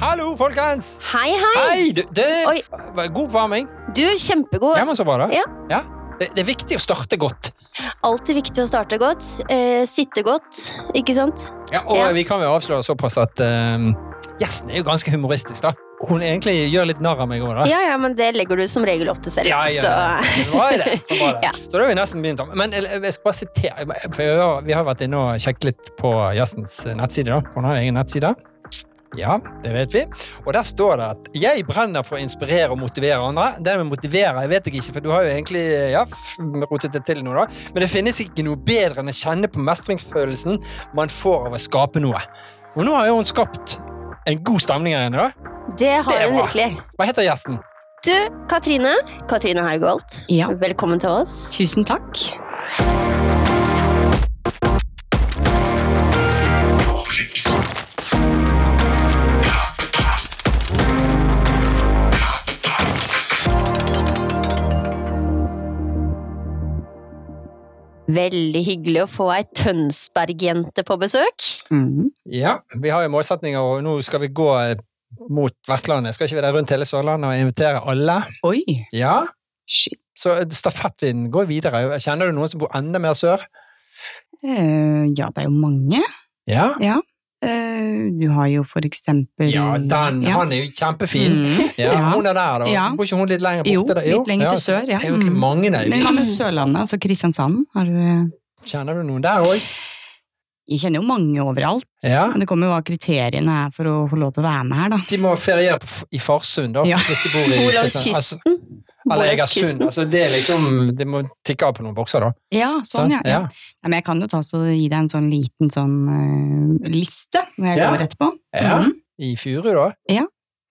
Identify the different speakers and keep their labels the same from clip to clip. Speaker 1: Hallo, folkens!
Speaker 2: Hei, hei!
Speaker 1: Hei! Du,
Speaker 2: Oi.
Speaker 1: det var god oppvarming.
Speaker 2: Du, kjempegod.
Speaker 1: Ja, men så bra. det.
Speaker 2: Ja.
Speaker 1: Ja. Det, det er viktig å starte godt.
Speaker 2: Alltid viktig å starte godt. Eh, sitte godt, ikke sant?
Speaker 1: Ja, og
Speaker 2: Ja.
Speaker 1: vi kan jo avsløre såpass at ehm, gjesten er jo ganske humoristisk, da. Hun egentlig gjør litt narr av meg òg, da.
Speaker 2: Ja, ja, men det legger du som regel opp til selv.
Speaker 1: Ja, ja, ja.
Speaker 2: Så.
Speaker 1: Så bra er det. Så, bra er det.
Speaker 2: Ja.
Speaker 1: så da har vi nesten begynt. om- Men eller, jeg skal bare sitere for jeg har- Vi har jo vært inne og sjekket litt på gjestens nettside. da. Hun har jo egen nettside. Ja, det vet vi. Og der står det at 'jeg brenner for å inspirere og motivere andre'. Det med motivere jeg vet jeg ikke, for du har jo egentlig ja, f- rotet det til noe, da. Men det finnes ikke noe bedre enn å kjenne på mestringsfølelsen man får av å skape noe. Og nå har jo hun skapt en god stemning her inne, da.
Speaker 2: Det har
Speaker 1: Det er
Speaker 2: hun
Speaker 1: bra.
Speaker 2: virkelig.
Speaker 1: Hva heter gjesten?
Speaker 2: Du, Katrine. Katrine Haugholt.
Speaker 3: Ja.
Speaker 2: Velkommen til oss.
Speaker 3: Tusen takk.
Speaker 2: Veldig hyggelig å få ei Tønsberg-jente på besøk.
Speaker 3: Mm.
Speaker 1: Ja, vi har jo målsetninger, og nå skal vi gå eh, mot Vestlandet. Skal ikke vi der rundt hele Sørlandet og invitere alle?
Speaker 3: Oi.
Speaker 1: Ja,
Speaker 3: Shit.
Speaker 1: så eh, stafettvinden går videre. Kjenner du noen som bor enda mer sør?
Speaker 3: Eh, ja, det er jo mange.
Speaker 1: Ja,
Speaker 3: Eh, du har jo for eksempel
Speaker 1: ja den,
Speaker 3: Mm, Ja.
Speaker 1: han er jo kjempefin.
Speaker 3: Mm.
Speaker 1: Ja,
Speaker 3: Ja.
Speaker 1: hun er der, da.
Speaker 3: Ja.
Speaker 1: Bor ikke hun litt lenger
Speaker 3: Jo,
Speaker 1: borte? da?
Speaker 3: litt lenger til
Speaker 1: så
Speaker 3: sør, ja.
Speaker 1: Det er jo egentlig
Speaker 3: Mm.
Speaker 1: mange der.
Speaker 3: Men hva med Sørlandet, altså Kristiansand? Har du eh,
Speaker 1: Kjenner du noen der òg?
Speaker 3: Jeg kjenner jo mange overalt,
Speaker 1: Ja.
Speaker 3: men det kommer jo hva kriteriene er for å få lov til å være med her, da.
Speaker 1: De må feriere på F- i Farsund, da.
Speaker 3: Ja.
Speaker 1: Hvis de bor i
Speaker 2: Hvor langs
Speaker 1: Kristiansand. Altså,
Speaker 2: kysten? Hvor
Speaker 1: Eller
Speaker 2: langs
Speaker 1: Egersund.
Speaker 2: kysten?
Speaker 1: Altså, det er liksom Det må tikke av på noen bokser, da.
Speaker 3: Ja, sånn, ja. ja. Nei, men jeg kan jo ta så gi deg en sånn liten sånn eh, liste når jeg
Speaker 1: Ja.
Speaker 3: kommer etterpå.
Speaker 1: Ja.
Speaker 3: Mhm.
Speaker 1: I Furu, da?
Speaker 3: Ja.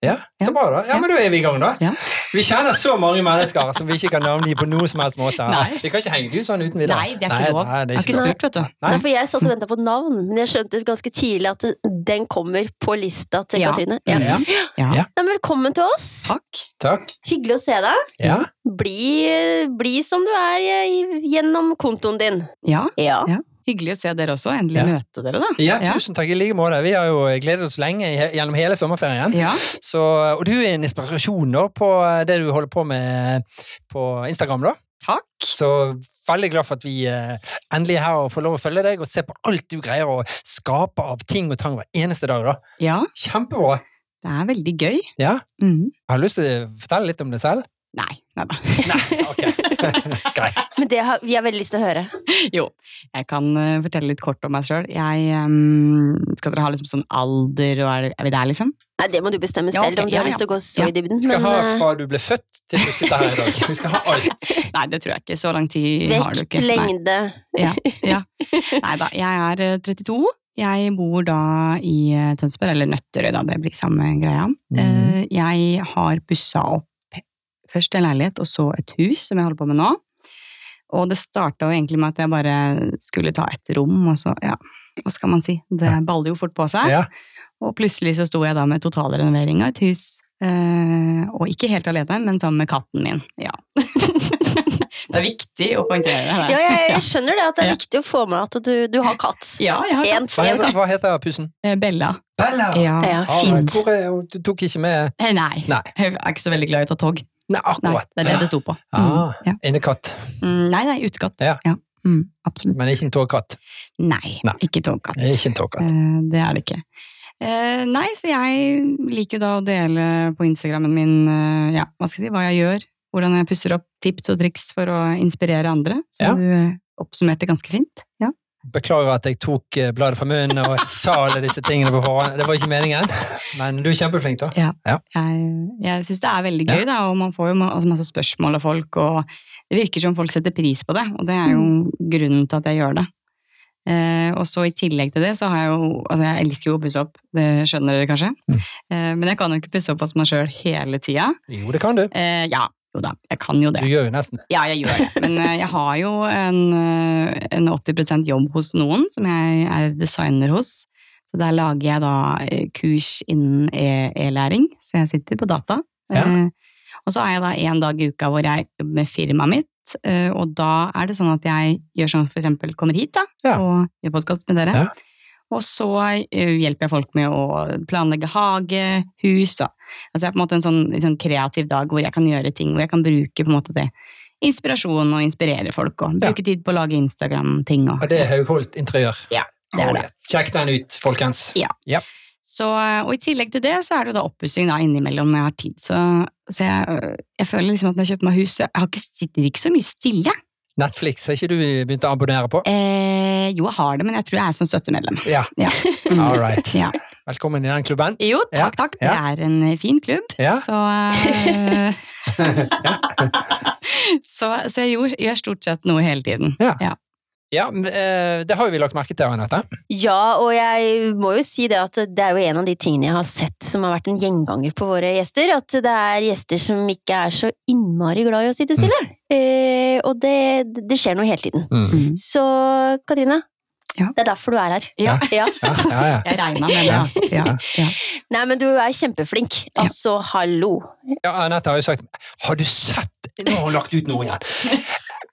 Speaker 1: Ja, Så
Speaker 3: Ja.
Speaker 1: bra, da. Ja,
Speaker 3: Ja.
Speaker 1: Men da er vi i gang, da.
Speaker 3: Ja.
Speaker 1: Vi kjenner så mange mennesker som vi ikke kan navngi på noen som helst måte.
Speaker 3: Nei.
Speaker 1: Vi kan ikke henge de ut sånn uten videre.
Speaker 3: Nei, det er ikke lov.
Speaker 1: Nei, det er
Speaker 3: jeg har
Speaker 1: ikke
Speaker 3: ikke
Speaker 1: lov.
Speaker 3: spurt, vet du.
Speaker 1: Nei.
Speaker 2: Nei, for jeg satt og venta på navn, men jeg skjønte ganske tidlig at den kommer på lista til
Speaker 3: Ja.
Speaker 2: Katrine.
Speaker 1: Ja.
Speaker 2: Ja.
Speaker 1: Ja.
Speaker 3: Ja.
Speaker 1: Ja.
Speaker 2: Nei, men velkommen til oss.
Speaker 3: Takk.
Speaker 1: Takk.
Speaker 2: Hyggelig å se deg.
Speaker 1: Ja.
Speaker 2: Bli, bli som du er eh, i- gjennom kontoen din.
Speaker 3: Ja,
Speaker 2: Ja.
Speaker 3: Ja. hyggelig å se dere også. Endelig
Speaker 1: Ja.
Speaker 3: møte dere, da.
Speaker 1: ja, tusen takk i like måte. Vi har jo gledet oss lenge i- gjennom hele sommerferien.
Speaker 3: Ja.
Speaker 1: Så, og du er en inspirasjon da på det du holder på med på Instagram, da.
Speaker 3: Takk.
Speaker 1: Så veldig glad for at vi eh, endelig er her og får lov å følge deg og se på alt du greier å skape av ting og tang hver eneste dag. da.
Speaker 3: Ja,
Speaker 1: Kjempebra.
Speaker 3: det er veldig gøy.
Speaker 1: Ja.
Speaker 3: Mhm.
Speaker 1: Har du lyst til å fortelle litt om deg selv?
Speaker 3: Nei, nei da.
Speaker 1: Nei, ok. Greit.
Speaker 2: Men det har vi har veldig lyst til å høre.
Speaker 3: Jo, jeg kan eh, fortelle litt kort om meg sjøl. Jeg ehm, Skal dere ha liksom sånn alder og er, er vi der, liksom?
Speaker 2: Nei, det må du bestemme
Speaker 3: Ja,
Speaker 2: selv
Speaker 3: ok,
Speaker 2: om du har
Speaker 3: ja,
Speaker 2: lyst til å gå så
Speaker 3: ja.
Speaker 2: i dybden.
Speaker 1: Vi skal
Speaker 2: Men
Speaker 1: ha
Speaker 2: eh,
Speaker 1: fra du ble født til du sitter her i dag. Vi skal ha alt.
Speaker 3: Nei, det tror jeg ikke. Så lang tid har du
Speaker 2: vekt,
Speaker 3: ikke. Nei.
Speaker 2: lengde
Speaker 3: nei da, jeg er eh, 32. Jeg bor da i eh, Tønsberg, eller Nøtterøy, da, det blir samme greia.
Speaker 2: Mhm.
Speaker 3: Eh, Jeg har pussa opp først en leilighet og så et hus som jeg holder på med nå. Og det starta jo egentlig med at jeg bare skulle ta et rom, og så, ja, hva skal man si, det baller jo fort på seg.
Speaker 1: Ja.
Speaker 3: Og plutselig så sto jeg da med totalrenovering av et hus. Eh, og ikke helt alene, men sammen med katten min. Ja. det er viktig å poengtere det. her.
Speaker 2: Ja, jeg, jeg skjønner det at det er
Speaker 3: Ja.
Speaker 2: viktig å få med at du, du har katt.
Speaker 3: ja, jeg har
Speaker 2: En,
Speaker 3: katt.
Speaker 1: Hva
Speaker 2: en
Speaker 1: heter,
Speaker 2: katt.
Speaker 1: hva heter pussen?
Speaker 3: Eh, Bella.
Speaker 1: Bella!
Speaker 3: Ja.
Speaker 2: Ja,
Speaker 1: Ah,
Speaker 2: fint.
Speaker 1: hvor er, hun? du tok ikke med
Speaker 3: Eh, Nei.
Speaker 1: Nei.
Speaker 3: Hun er ikke så veldig glad i å ta tog.
Speaker 1: Nei,
Speaker 3: Nei,
Speaker 1: akkurat.
Speaker 3: det er det det sto på.
Speaker 1: Ah,
Speaker 3: Mm, ja.
Speaker 1: Innekatt,
Speaker 3: Mm, Nei, nei, utekatt.
Speaker 1: Ja.
Speaker 3: Mm, absolutt.
Speaker 1: men ikke en togkatt.
Speaker 3: Nei,
Speaker 1: Nei.
Speaker 3: ikke togkatt.
Speaker 1: Det er Ikke en togkatt.
Speaker 3: Eh, Det er det ikke. Eh, nei, så jeg liker jo da å dele på Instagrammen min eh, ja, hva, skal jeg si, hva jeg gjør, hvordan jeg pusser opp tips og triks for å inspirere andre. Så
Speaker 1: Ja.
Speaker 3: du eh, oppsummerte ganske fint. Ja.
Speaker 1: Beklager at jeg tok eh, bladet fra munnen og sa alle disse tingene på forhånd. Det var ikke meningen, men du er kjempeflink, da.
Speaker 3: Jeg, jeg syns det er veldig gøy, da, og man får jo ma- altså, masse spørsmål av folk, og det virker som folk setter pris på det, og det er jo grunnen til at jeg gjør det. Eh, og så i tillegg til det, så har jeg jo Altså, jeg elsker jo å pusse opp, det skjønner dere kanskje, eh, men jeg kan jo ikke pusse opp hos meg sjøl hele tida.
Speaker 1: Jo, det kan du.
Speaker 3: Eh, ja, jo da, jeg kan jo
Speaker 1: Du
Speaker 3: det.
Speaker 1: gjør jo nesten det.
Speaker 3: Ja, jeg gjør det. Men eh, jeg har jo en, eh, en 80 jobb hos noen, som jeg er designer hos. Så der lager jeg da eh, kurs innen e- e-læring, så jeg sitter på data.
Speaker 1: Ja.
Speaker 3: Eh, og så har jeg da en dag i uka hvor jeg jobber med firmaet mitt, eh, og da er det sånn at jeg gjør sånn for eksempel kommer hit da,
Speaker 1: Ja.
Speaker 3: og gjør podcast med dere.
Speaker 1: Ja.
Speaker 3: Og så eh, hjelper jeg folk med å planlegge hage, hus og Altså jeg har på en måte en sånn, litt sånn kreativ dag hvor jeg kan gjøre ting, hvor jeg kan bruke på en måte det. Inspirasjon og inspirere folk og bruke tid på å lage Instagram-ting og
Speaker 1: Og det er Haugholt interiør.
Speaker 3: Ja, det
Speaker 1: Oh,
Speaker 3: er det.
Speaker 1: yes. Sjekk den ut, folkens.
Speaker 3: Så, og i tillegg til det så er det jo da oppussing da innimellom når jeg har tid. Så, så jeg, øh, jeg føler liksom at når jeg kjøper meg hus, så jeg har ikke, sitter ikke så mye stille.
Speaker 1: Netflix har ikke du begynt å abonnere på?
Speaker 3: Eh, jo, jeg har det, men jeg tror jeg er som støttemedlem.
Speaker 1: Ja,
Speaker 3: Mm.
Speaker 1: all right.
Speaker 3: Ja.
Speaker 1: Velkommen i den klubben.
Speaker 2: Jo,
Speaker 1: Ja.
Speaker 3: Takk, takk. Det er en eh, fin klubb.
Speaker 1: Ja.
Speaker 3: Så, eh, så, så jeg gjør, gjør stort sett noe hele tiden.
Speaker 1: Ja, men, eh, det har jo vi lagt merke til, Anette.
Speaker 2: Ja, og jeg må jo si det at det er jo en av de tingene jeg har sett som har vært en gjenganger på våre gjester, at det er gjester som ikke er så innmari glad i å sitte stille. Eh, og det, det skjer noe hele tiden.
Speaker 1: Mm.
Speaker 3: Mm.
Speaker 2: Så Katrine,
Speaker 3: Ja.
Speaker 2: det er derfor du er her.
Speaker 3: Ja.
Speaker 2: ja.
Speaker 1: Ja, ja, ja.
Speaker 3: Jeg regna med det, altså. Ja. Ja.
Speaker 2: Nei, men du er kjempeflink.
Speaker 3: Ja.
Speaker 2: Altså, hallo.
Speaker 1: ja, Anette har jo sagt Har du sett Nå har hun lagt ut noe igjen!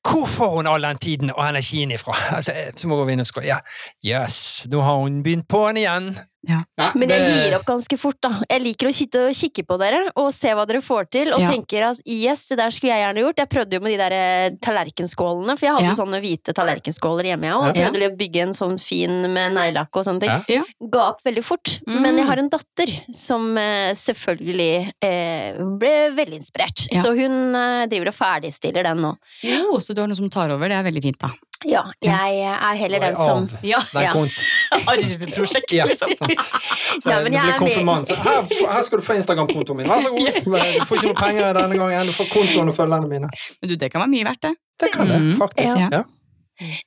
Speaker 1: Hvor får hun all den tiden og energien ifra? Altså, eh, så må hun gå inn og skåle. Ja, yes, nå har hun begynt på'n igjen.
Speaker 3: Ja.
Speaker 2: Men jeg gir opp ganske fort, da. Jeg liker å sitte og kikke på dere og se hva dere får til, og
Speaker 3: Ja.
Speaker 2: tenker at yes, det der skulle jeg gjerne gjort. Jeg prøvde jo med de der eh, tallerkenskålene, for jeg hadde
Speaker 3: Ja.
Speaker 2: jo sånne hvite tallerkenskåler hjemme, jeg òg.
Speaker 3: Ja.
Speaker 2: Prøvde å bygge en sånn fin med neglelakk og sånne ting.
Speaker 3: Ja.
Speaker 2: Ga opp veldig fort.
Speaker 3: Mm.
Speaker 2: Men jeg har en datter som eh, selvfølgelig eh, ble veldig inspirert.
Speaker 3: Ja.
Speaker 2: Så hun eh, driver og ferdigstiller den nå.
Speaker 3: Jo, så du har noen som tar over. Det er veldig fint, da.
Speaker 2: Ja,
Speaker 3: Ja.
Speaker 2: jeg er heller den
Speaker 1: Av
Speaker 2: som
Speaker 3: Ja,
Speaker 1: den
Speaker 2: Ja.
Speaker 1: kont-
Speaker 3: Arveprosjekt,
Speaker 1: Ja.
Speaker 3: liksom.
Speaker 1: Så
Speaker 2: Ja,
Speaker 1: ja,
Speaker 2: men
Speaker 1: det
Speaker 2: jeg
Speaker 1: blir
Speaker 2: er
Speaker 1: konfirmant. Så Her, her skal du få Instagram-kontoen min. Vær så god. Du får ikke noe penger denne gangen. Du får kontoen og følgerne mine.
Speaker 3: Men du, det kan være mye verdt, det.
Speaker 1: Det kan det,
Speaker 3: Mm.
Speaker 1: faktisk.
Speaker 3: Ja.
Speaker 1: Ja.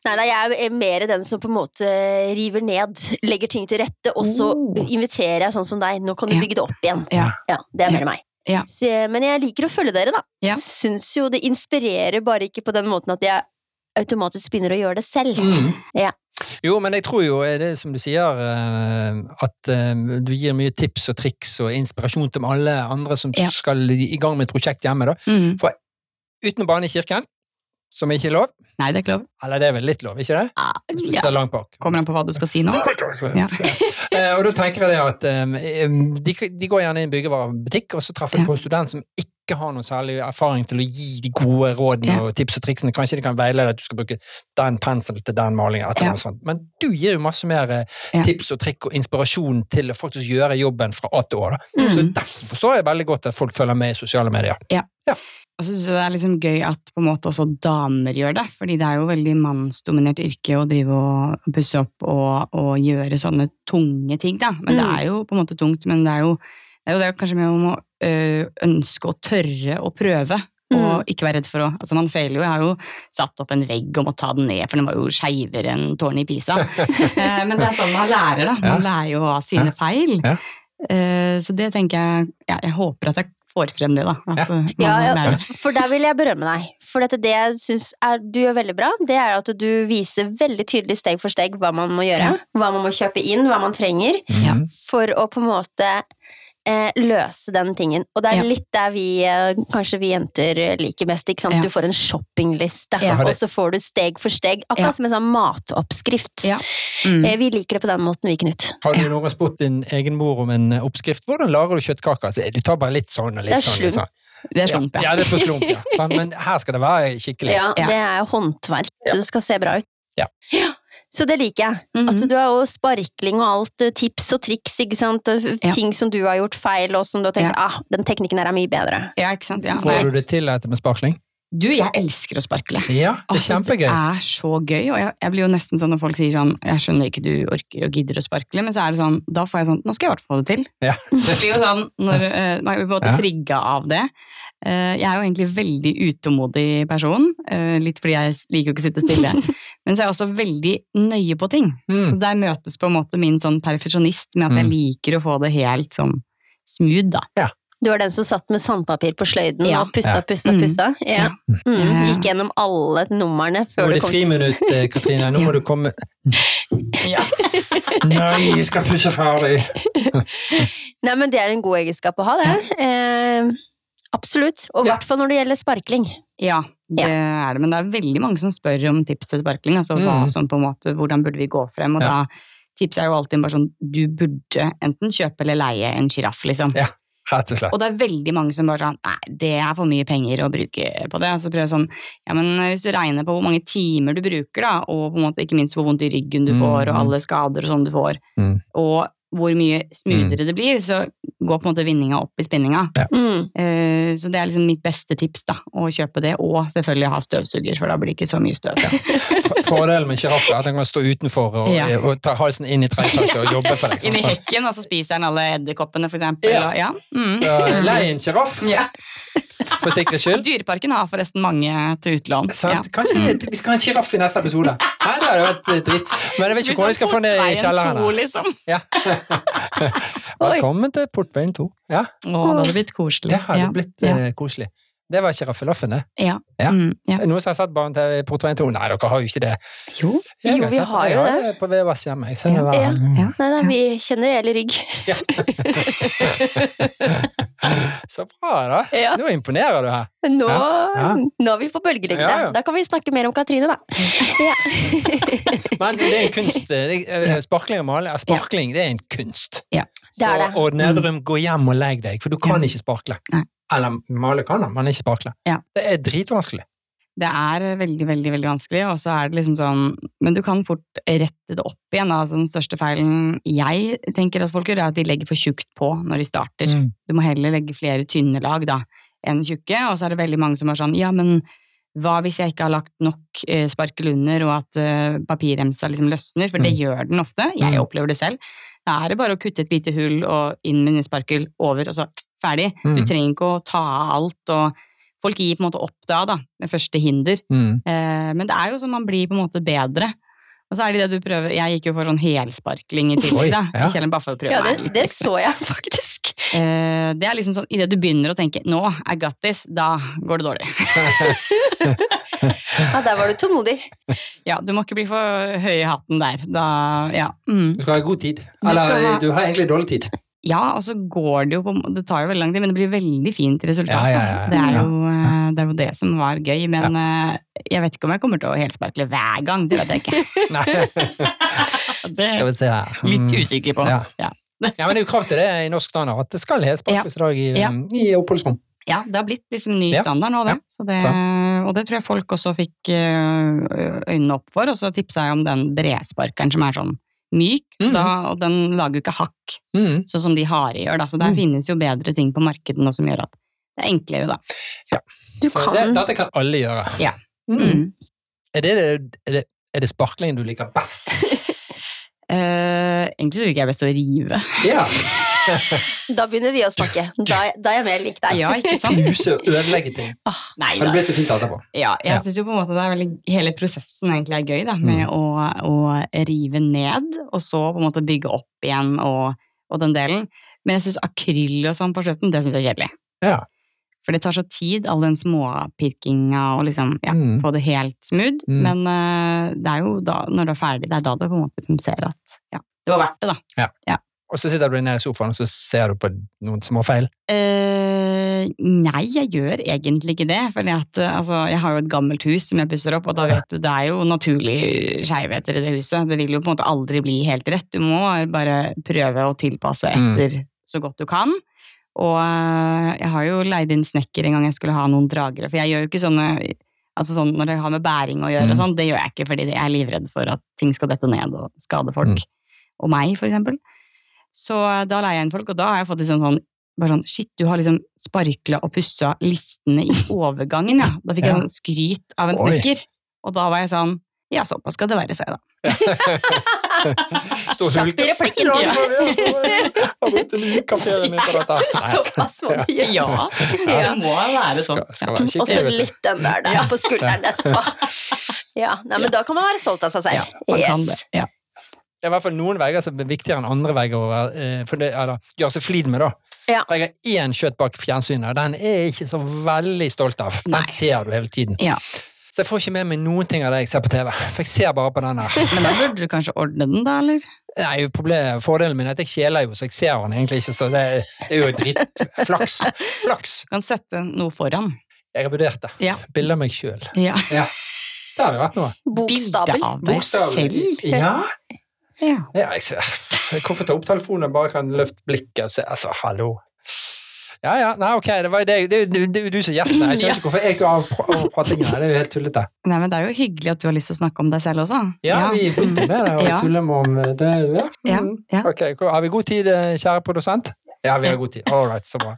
Speaker 2: Nei, nei, jeg er mer den som på en måte river ned, legger ting til rette, og så
Speaker 3: Oh.
Speaker 2: inviterer jeg sånn som deg. Nå kan du
Speaker 3: Ja.
Speaker 2: bygge det opp igjen.
Speaker 3: Ja.
Speaker 2: det er mer meg.
Speaker 3: Ja.
Speaker 2: Så, jeg- men jeg liker å følge dere, da.
Speaker 3: Ja.
Speaker 2: Syns jo det inspirerer, bare ikke på den måten at jeg automatisk begynner å gjøre det selv.
Speaker 1: Mm.
Speaker 2: Ja.
Speaker 1: Jo, men jeg tror jo eh, det er som du sier, eh, at eh, du gir mye tips og triks og inspirasjon til alle andre som
Speaker 3: Ja.
Speaker 1: skal i i gang med et prosjekt hjemme, da.
Speaker 3: Mm.
Speaker 1: Uten å bane i kirken, som ikke er lov.
Speaker 3: Nei, det er ikke lov.
Speaker 1: Eller det er vel litt lov, ikke det? Hvis du
Speaker 3: Ja.
Speaker 1: sitter langt bak.
Speaker 3: Kommer an på hva du skal si nå. Ja.
Speaker 1: Eh, og da tenker jeg det at eh, de, de går gjerne i en byggevarebutikk, og så treffer de
Speaker 3: Ja.
Speaker 1: på en student som ikke har noen særlig erfaring til å gi de gode rådene
Speaker 3: Ja.
Speaker 1: og tips og triksene. Kanskje de kan veilede at du skal bruke den penselen til den malingen. et
Speaker 3: Ja.
Speaker 1: eller annet sånt. Men du gir jo masse mer eh,
Speaker 3: Ja.
Speaker 1: tips og trikk og inspirasjon til å faktisk gjøre jobben fra A til Å. Da. Så
Speaker 3: Mm.
Speaker 1: derfor forstår jeg veldig godt at folk følger med i sosiale medier.
Speaker 3: Og så synes jeg det er liksom gøy at på en måte også damer gjør det, fordi det er jo veldig mannsdominert yrke å drive og pusse opp og, og gjøre sånne tunge ting, da. Men det
Speaker 2: Mm.
Speaker 3: er jo på en måte tungt, men det er jo, det er jo, det er jo kanskje mer om å øh, ønske og tørre å prøve.
Speaker 2: Mm.
Speaker 3: Og ikke være redd for å Altså, man feiler jo. Jeg har jo satt opp en vegg og må ta den ned, for den var jo skeivere enn tårnet i Pisa. Eh, Men det er sånn man lærer, da. Man lærer jo av sine feil.
Speaker 1: Ja.
Speaker 3: Eh, Så det tenker jeg ja, Jeg håper at jeg får frem det, da. At eh, man
Speaker 2: Ja, ja,
Speaker 3: lærer.
Speaker 2: for der vil jeg berømme deg. For dette, det jeg syns er- du gjør veldig bra, det er at du viser veldig tydelig steg for steg hva man må gjøre,
Speaker 3: Ja.
Speaker 2: hva man må kjøpe inn, hva man trenger.
Speaker 3: Ja.
Speaker 1: Mhm.
Speaker 2: for å på en måte eh, løse den tingen. Og det er
Speaker 3: Ja.
Speaker 2: litt der vi, eh, kanskje vi jenter eh, liker mest, ikke sant?
Speaker 3: Ja.
Speaker 2: Du får en shoppingliste,
Speaker 3: Ja.
Speaker 2: og så får du steg for steg, akkurat
Speaker 3: Ja.
Speaker 2: som en sånn matoppskrift.
Speaker 3: Ja. Mm.
Speaker 2: Eh, vi liker det på den måten, vi, Knut.
Speaker 1: Har du noen gang spurt din egen mor om en eh, oppskrift? Hvordan lager du kjøttkaker? Så, eh, Du tar bare litt sånn og
Speaker 2: Det er
Speaker 1: litt sånn. Litt
Speaker 2: slump.
Speaker 1: sånn.
Speaker 3: Det er slump,
Speaker 1: ja.
Speaker 3: ja.
Speaker 1: Ja, det er for slump, ja. Sant? Men her skal det være skikkelig.
Speaker 2: Ja,
Speaker 3: Ja.
Speaker 2: Det er jo håndverk, det skal se bra ut.
Speaker 1: Ja.
Speaker 2: Så det liker jeg.
Speaker 1: Mm.
Speaker 2: At
Speaker 3: Mhm.
Speaker 2: du har jo sparkling og alt, eh, tips og triks, ikke sant? og
Speaker 3: Ja.
Speaker 2: ting som du har gjort feil, og som du har tenkt ah, den teknikken her er mye bedre.
Speaker 3: Ja, ikke sant? Ja.
Speaker 1: Får du det til etter med sparkling?
Speaker 3: Du, jeg elsker å sparkle.
Speaker 1: Ja, det er
Speaker 3: Altså,
Speaker 1: kjempegøy.
Speaker 3: Det er så gøy, og jeg, jeg blir jo nesten sånn når folk sier sånn Jeg skjønner ikke du orker og gidder å sparkle, men så er det sånn Da får jeg sånn Nå skal jeg i hvert fall få det til.
Speaker 1: Ja.
Speaker 3: Det blir jo sånn når eh, Man blir på en måte
Speaker 1: Ja.
Speaker 3: trigga av det. Eh, jeg er jo egentlig veldig utålmodig person, eh, litt fordi jeg liker jo ikke å sitte stille. Men så er jeg også veldig nøye på ting. Så
Speaker 1: Mm.
Speaker 3: der møtes på en måte min sånn perfeksjonist med at jeg
Speaker 1: Mm.
Speaker 3: liker å få det helt sånn smooth, da.
Speaker 2: Du var den som satt med sandpapir på sløyden
Speaker 3: Ja.
Speaker 2: og pussa,
Speaker 1: Ja.
Speaker 2: pussa,
Speaker 3: Mm.
Speaker 2: pussa. Ja. Mm.
Speaker 3: Ja.
Speaker 2: Gikk gjennom alle numrene
Speaker 1: Nå
Speaker 2: før
Speaker 1: er
Speaker 2: du
Speaker 1: det
Speaker 2: kom
Speaker 1: friminutt, eh, Katrine. Nå
Speaker 3: Ja.
Speaker 1: må du komme
Speaker 3: Ja.
Speaker 1: Nei, jeg skal pusse ferdig!
Speaker 2: Nei, men det er en god egenskap å ha, det. Eh, absolutt. Og i
Speaker 1: Ja.
Speaker 2: hvert fall når det gjelder sparkling.
Speaker 3: Ja, det er det. Men det er veldig mange som spør om tips til sparkling. Altså hva
Speaker 1: Mm.
Speaker 3: som på en måte, hvordan burde vi gå frem? Og
Speaker 1: Ja.
Speaker 3: da tips er jo alltid bare sånn du burde enten kjøpe eller leie en sjiraff, liksom.
Speaker 1: Ja. Rett og slett.
Speaker 3: Og det er veldig mange som bare sånn Nei, det er for mye penger å bruke på det. Og så prøver jeg sånn Ja, men hvis du regner på hvor mange timer du bruker, da, og på en måte ikke minst hvor vondt i ryggen du
Speaker 1: Mm,
Speaker 3: får, og
Speaker 1: mm.
Speaker 3: alle skader og sånn du får,
Speaker 1: Mm.
Speaker 3: og hvor mye smoothere det blir, så går på en måte vinninga opp i spinninga.
Speaker 2: Mm.
Speaker 3: Eh, Så det er liksom mitt beste tips, da. Å kjøpe det, og selvfølgelig ha støvsuger, for da blir det ikke så mye støv.
Speaker 1: For- Fordelen med sjiraff er at den kan stå utenfor og, eh,
Speaker 3: Ja.
Speaker 1: og ta halsen inn i trekkfeltet og jobbe for deg. sånn.
Speaker 3: Inni
Speaker 1: sant?
Speaker 3: hekken, og så spiser den alle edderkoppene, for eksempel.
Speaker 1: Ja.
Speaker 3: Og, ja. Mm.
Speaker 1: Så, eh, Lei en sjiraff,
Speaker 3: ja.
Speaker 1: for sikkerhets skyld.
Speaker 3: Dyreparken har forresten mange til utlån. Ja.
Speaker 1: Sant? Kanskje vi skal ha en sjiraff i neste episode. Nei, det hadde vært eh, dritt. Men jeg vet ikke hvor vi skal få ned i kjelleren.
Speaker 3: To,
Speaker 1: her.
Speaker 3: liksom.
Speaker 1: Ja.
Speaker 2: Oi.
Speaker 1: Velkommen til Portveien 2. Ja,
Speaker 3: Å, det hadde blitt koselig.
Speaker 1: det hadde
Speaker 3: ja.
Speaker 1: blitt
Speaker 3: Ja.
Speaker 1: eh, koselig. Det var sjiraffeloffen, det.
Speaker 3: Ja.
Speaker 1: Ja.
Speaker 3: Mm, ja.
Speaker 1: Noen som har sett barn til Portveien 2? Nei, dere har jo ikke det.
Speaker 3: Jo.
Speaker 1: Jeg
Speaker 2: Jo, vi
Speaker 1: sett-
Speaker 2: har
Speaker 1: jeg
Speaker 2: jo
Speaker 1: det. På Vevass hjemme. Jeg ser det
Speaker 2: Ja.
Speaker 1: hver gang.
Speaker 3: Ja.
Speaker 2: Nei, nei, vi kjenner hele rygg.
Speaker 1: Så bra, da.
Speaker 2: Ja.
Speaker 1: Nå imponerer du her.
Speaker 2: Nå,
Speaker 1: Ja.
Speaker 2: nå er vi på bølgelengde.
Speaker 1: Ja, ja.
Speaker 2: Da kan vi snakke mer om Katrine, da. Ja.
Speaker 1: Men det er en kunst. eh, det er- eh, Sparkling og male, eh, sparkling, det er en kunst.
Speaker 3: Ja.
Speaker 2: Det er
Speaker 1: Så-
Speaker 2: det.
Speaker 1: Og Nedrum, gå hjem og legg deg, for du kan
Speaker 3: Ja.
Speaker 1: ikke sparkle.
Speaker 3: Nei.
Speaker 1: Eller male kan da, men ikke sparkle.
Speaker 3: Ja.
Speaker 1: Det er dritvanskelig.
Speaker 3: Det er veldig, veldig veldig vanskelig, og så er det liksom sånn Men du kan fort rette det opp igjen. Da. Altså, den største feilen jeg tenker at folk gjør, er at de legger for tjukt på når de starter.
Speaker 1: Mm.
Speaker 3: Du må heller legge flere tynne lag da, enn tjukke, og så er det veldig mange som er sånn Ja, men hva hvis jeg ikke har lagt nok eh, sparkel under, og at eh, papirremsa liksom løsner? For det gjør den ofte. Jeg
Speaker 1: Mm.
Speaker 3: opplever det selv. Da er det bare å kutte et lite hull og inn med sparkel over, og så ferdig. Du
Speaker 1: Mm.
Speaker 3: trenger ikke å ta av alt, og folk gir på en måte opp da, da, med første hinder.
Speaker 1: Mm.
Speaker 3: Eh, men det er jo sånn man blir på en måte bedre. Og så er det det du prøver Jeg gikk jo for sånn helsparkling i
Speaker 1: Oi,
Speaker 3: tillegg, da.
Speaker 1: ja.
Speaker 3: Kjell bare for å prøve
Speaker 2: Ja,
Speaker 3: meg
Speaker 2: det,
Speaker 3: litt.
Speaker 2: det så jeg faktisk.
Speaker 3: Eh, det er liksom sånn idet du begynner å tenke 'nå, I got this', da går det dårlig.
Speaker 2: Ja, der var du tålmodig.
Speaker 3: Ja, du må ikke bli for høy i hatten der. Da, ja. Mm.
Speaker 1: Du skal ha god tid.
Speaker 3: Du
Speaker 1: Eller eh,
Speaker 3: skal ha-
Speaker 1: du har egentlig dårlig tid.
Speaker 3: ja, og så går det jo på en må- Det tar jo veldig lang tid, men det blir veldig fint resultat.
Speaker 1: Ja, ja,
Speaker 3: da.
Speaker 1: ja,
Speaker 3: Det, er
Speaker 1: ja,
Speaker 3: jo, eh, det er jo det som var gøy, men eh, jeg vet ikke om jeg kommer til å helsparkle hver gang. Det vet jeg ikke.
Speaker 1: Nei.
Speaker 3: Det
Speaker 1: Skal
Speaker 3: er
Speaker 1: vi se her.
Speaker 2: Eh,
Speaker 3: jeg litt
Speaker 1: Mm.
Speaker 3: usikker på.
Speaker 1: Ja.
Speaker 3: Ja.
Speaker 1: Ja, men det er jo krav til det i norsk standard, at det skal helsparkes i dag i, um,
Speaker 3: Ja.
Speaker 1: i oppholdsrom.
Speaker 3: Ja, det har blitt liksom ny
Speaker 1: Ja.
Speaker 3: standard nå, det. Så det. Og det tror jeg folk også fikk eh, øynene opp for. Og så tipsa jeg om den bredsparkeren som er sånn myk,
Speaker 1: Mhm.
Speaker 3: da, og den lager jo ikke hakk,
Speaker 1: Mm.
Speaker 3: sånn som de harde gjør. Da. Så der
Speaker 1: Mm.
Speaker 3: finnes jo bedre ting på markedet nå som gjør at det er enklere, da.
Speaker 2: Du
Speaker 1: Så det,
Speaker 2: kan
Speaker 1: dette kan alle gjøre.
Speaker 3: Ja.
Speaker 2: Mhm.
Speaker 1: Mm.
Speaker 3: Mm.
Speaker 1: Er, det, er, det, er det sparklingen du liker best?
Speaker 3: Eh, egentlig så liker jeg best å rive.
Speaker 1: Ja.
Speaker 2: Da begynner vi å snakke. Da, da er jeg mer lik deg.
Speaker 3: Ja, ikke sant?
Speaker 1: Knuse og ødelegge ting.
Speaker 3: Ah, Nei
Speaker 1: For det
Speaker 3: da.
Speaker 1: blir så fint etterpå.
Speaker 3: Ja, jeg
Speaker 1: Ja. Mm.
Speaker 3: synes syns jo på en måte det er veldig Hele prosessen egentlig er gøy, da, med å, å rive ned, og så på en måte bygge opp igjen og, og den delen. Men jeg syns akryl og sånn på slutten, det syns jeg er kjedelig.
Speaker 1: Ja.
Speaker 3: For det tar så tid, all den småpirkinga og liksom ja,
Speaker 1: Mm.
Speaker 3: få det helt smooth.
Speaker 1: Mm.
Speaker 3: Men eh, det er jo da, når du er ferdig, det er da du på en måte liksom ser at ja, det var verdt det, da.
Speaker 1: Og så sitter du nede i sofaen, og så ser du på noen små feil.
Speaker 3: Eh, nei, jeg gjør egentlig ikke det. For altså, jeg har jo et gammelt hus som jeg pusser opp, og da vet du, det er jo naturlige skeivheter i det huset. Det vil jo på en måte aldri bli helt rett. Du må bare prøve å tilpasse etter så godt du kan. Og eh, jeg har jo leid inn snekker en gang jeg skulle ha noen dragere, for jeg gjør jo ikke sånne Altså sånn når jeg har med bæring å gjøre og
Speaker 1: Mm.
Speaker 3: sånn, det gjør jeg ikke fordi jeg er livredd for at ting skal dette ned og skade folk. Og meg, for eksempel. Så da leier jeg inn folk, og da har jeg fått liksom sånn bare sånn, shit, du har liksom sparkla og pussa listene i overgangen, ja. Da fikk jeg
Speaker 1: Ja.
Speaker 3: sånn skryt av en
Speaker 1: Oi.
Speaker 3: snekker. Og da var jeg sånn, ja, såpass skal det være, sa jeg da.
Speaker 2: Kjapp i replikken.
Speaker 1: Ja, det var det, altså. Jeg har brukt en uke av ferien min på dette. Nei.
Speaker 2: Såpass må det gjøres.
Speaker 3: Ja, det
Speaker 2: Ja.
Speaker 3: må være sånn.
Speaker 1: Skal, skal være
Speaker 2: Og så
Speaker 1: skikkelig, vet du.
Speaker 2: litt den der, da, på skulderen etterpå. Ja, nei, men da kan man være stolt av seg
Speaker 3: Ja,
Speaker 2: selv.
Speaker 3: man kan det.
Speaker 2: Yes.
Speaker 3: Ja.
Speaker 1: Det er i hvert fall noen vegger som er viktigere enn andre vegger å være, eh, for det, eller, gjøre seg flid med. da.
Speaker 2: Ja.
Speaker 1: For Jeg har én kjøtt bak fjernsynet, og den er jeg ikke så veldig stolt av. Den
Speaker 3: Nei.
Speaker 1: ser du hele tiden.
Speaker 3: Ja.
Speaker 1: Så jeg får ikke med meg noen ting av det jeg ser på TV. For jeg ser bare på den her.
Speaker 3: Men da burde du kanskje ordne den, da, eller?
Speaker 1: Nei, problemet, Fordelen min er at jeg kjeler jo, så jeg ser den egentlig ikke. Så det, det er jo dritflaks. Flaks.
Speaker 3: Du kan sette noe foran.
Speaker 1: Jeg har vurdert det.
Speaker 3: Ja.
Speaker 1: Bilder av meg sjøl.
Speaker 3: Ja.
Speaker 1: Det hadde vært noe.
Speaker 2: Bokstabel.
Speaker 3: Bilde av deg
Speaker 1: Bokstavelig.
Speaker 3: selv.
Speaker 1: Ja.
Speaker 3: Ja.
Speaker 1: Ja, jeg ser. Hvorfor ta opp telefonen og bare kan løfte blikket og se Altså, hallo. Ja, ja. Nei, ok, det var jo deg. Det er jo du- det er jo du som er gjesten her. Jeg skjønner ikke hvorfor jeg tok av pr- av pratingen her. Det er jo helt tullete.
Speaker 3: Nei, men det er jo hyggelig at du har lyst til å snakke om deg selv også.
Speaker 1: Ja, vi begynte med det
Speaker 3: Ja.
Speaker 1: og tulle med om det. Ja.
Speaker 3: Ja, ja.
Speaker 1: Ok, hvor- Har vi god tid, eh, kjære produsent? Ja, vi har god tid. All right, så bra.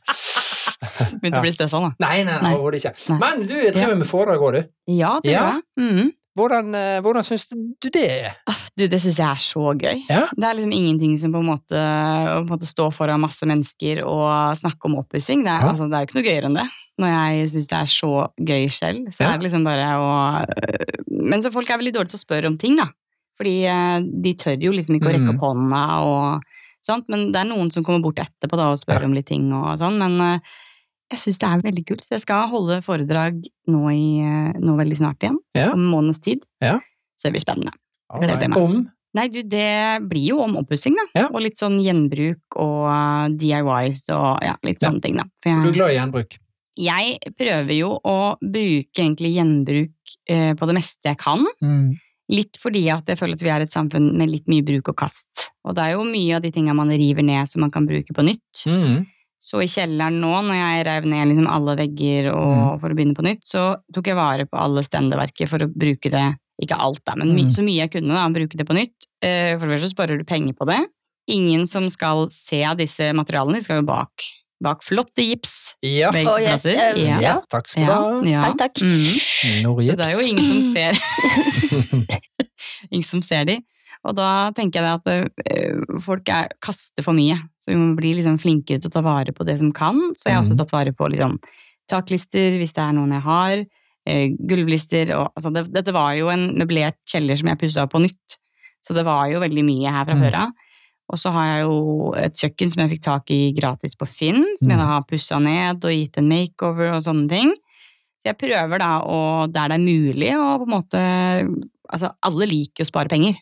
Speaker 3: Begynte å bli stressa nå.
Speaker 1: Nei, nei, nei
Speaker 3: Nei.
Speaker 1: overhodet ikke.
Speaker 3: Nei.
Speaker 1: Men du driver med foredrag òg, du.
Speaker 3: Ja, det
Speaker 1: Ja.
Speaker 3: gjør jeg. Mhm.
Speaker 1: Hvordan, eh, hvordan syns du det er?
Speaker 3: Du, det syns jeg er så gøy.
Speaker 1: Ja.
Speaker 3: Det er liksom ingenting som på en måte å på en måte stå foran masse mennesker og snakke om oppussing. Det, er-
Speaker 1: Ja.
Speaker 3: altså, det er jo ikke noe gøyere enn det. Når jeg syns det er så gøy selv, så
Speaker 1: Ja.
Speaker 3: er det liksom bare å øh, Men så folk er veldig dårlige til å spørre om ting, da. Fordi eh, de tør jo liksom ikke å rekke
Speaker 1: Mhm.
Speaker 3: opp hånda og sånt. Men det er noen som kommer bort etterpå da og spør om litt ting og sånn. Men eh, jeg syns det er veldig kult, så jeg skal holde foredrag nå, i, eh, nå veldig snart igjen.
Speaker 1: Ja.
Speaker 3: Om en måneds tid.
Speaker 1: Ja.
Speaker 3: Så det blir spennende.
Speaker 1: All
Speaker 3: Gleder
Speaker 1: right.
Speaker 3: meg.
Speaker 1: Om?
Speaker 3: Nei, du, det blir jo om oppussing, da.
Speaker 1: Ja.
Speaker 3: Og litt sånn gjenbruk og eh, DIYs og ja, litt
Speaker 1: Ja.
Speaker 3: sånne ting, da.
Speaker 1: For
Speaker 3: For
Speaker 1: du er
Speaker 3: jeg,
Speaker 1: glad i gjenbruk?
Speaker 3: jeg prøver jo å bruke egentlig gjenbruk eh, på det meste jeg kan. Litt fordi at jeg føler at vi er et samfunn med litt mye bruk og kast. Og det er jo mye av de tinga man river ned som man kan bruke på nytt.
Speaker 1: Mm.
Speaker 3: Så i kjelleren nå, når jeg rev ned liksom alle vegger og,
Speaker 1: Mm.
Speaker 3: for å begynne på nytt, så tok jeg vare på alle stendeverket for å bruke det, ikke alt da, men my
Speaker 1: Mm.
Speaker 3: så mye jeg kunne da, bruke det på nytt. Eh, For det første så sparer du penger på det. Ingen som skal se disse materialene, de skal jo bak, bak flotte gips.
Speaker 1: Ja.
Speaker 3: Begge
Speaker 2: Å, yes,
Speaker 3: plasser.
Speaker 2: um,
Speaker 3: ja.
Speaker 1: ja. Takk skal du
Speaker 3: Ja,
Speaker 1: ha.
Speaker 3: ja.
Speaker 2: Takk, takk.
Speaker 3: Mm.
Speaker 1: Norgips.
Speaker 3: Så det er jo ingen som ser Ingen som ser de. Og da tenker jeg det at eh, folk er, kaster for mye. Så vi må bli liksom flinkere til å ta vare på det som kan. Så jeg har også
Speaker 1: Mhm.
Speaker 3: tatt vare på liksom, taklister, hvis det er noen jeg har. eh, Gulvlister og altså det, Dette var jo en møblert kjeller som jeg pussa opp på nytt. Så det var jo veldig mye her fra
Speaker 1: Mhm.
Speaker 3: før av. Og så har jeg jo et kjøkken som jeg fikk tak i gratis på Finn, som
Speaker 1: Mm.
Speaker 3: jeg da har pussa ned og gitt en makeover og sånne ting. Så jeg prøver da å, der det er mulig, å på en måte Altså, alle liker jo å spare penger.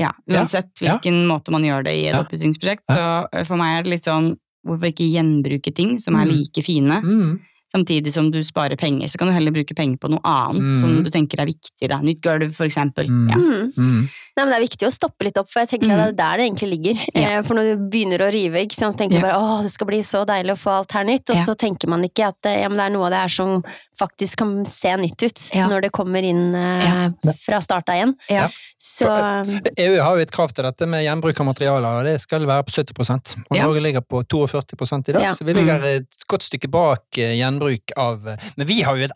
Speaker 3: Ja,
Speaker 1: Ja,
Speaker 3: uansett
Speaker 1: ja.
Speaker 3: hvilken måte man gjør det i et
Speaker 1: Ja.
Speaker 3: oppussingsprosjekt. Så ø, for meg er det litt sånn Hvorfor ikke gjenbruke ting som er
Speaker 1: Mm.
Speaker 3: like fine,
Speaker 1: Mm.
Speaker 3: samtidig som du sparer penger? Så kan du heller bruke penger på noe annet
Speaker 1: Mm.
Speaker 3: som du tenker er viktig. Da. Nytt gulv, for eksempel.
Speaker 1: Mm.
Speaker 3: Ja.
Speaker 2: Mm.
Speaker 1: Mm.
Speaker 2: Nei, men Det er viktig å stoppe litt opp, for jeg tenker at det er der det egentlig ligger.
Speaker 3: Mm. Ja.
Speaker 2: Eh, For når du begynner å rive, ikke sant, så tenker man
Speaker 3: Ja.
Speaker 2: bare åh, det skal bli så deilig å få alt her nytt, og
Speaker 3: Ja.
Speaker 2: så tenker man ikke at eh, ja, men det er noe av det her som faktisk kan se nytt ut
Speaker 3: Ja.
Speaker 2: når det kommer inn eh, fra starta igjen.
Speaker 3: Ja.
Speaker 2: Så eh,
Speaker 1: EU E har jo et krav til dette med gjenbruk av materialer, og det skal være på 70 Og
Speaker 3: Ja.
Speaker 1: Norge ligger på 42 i dag,
Speaker 2: Ja.
Speaker 1: så vi ligger et godt stykke bak eh, gjenbruk av eh, Men vi har jo et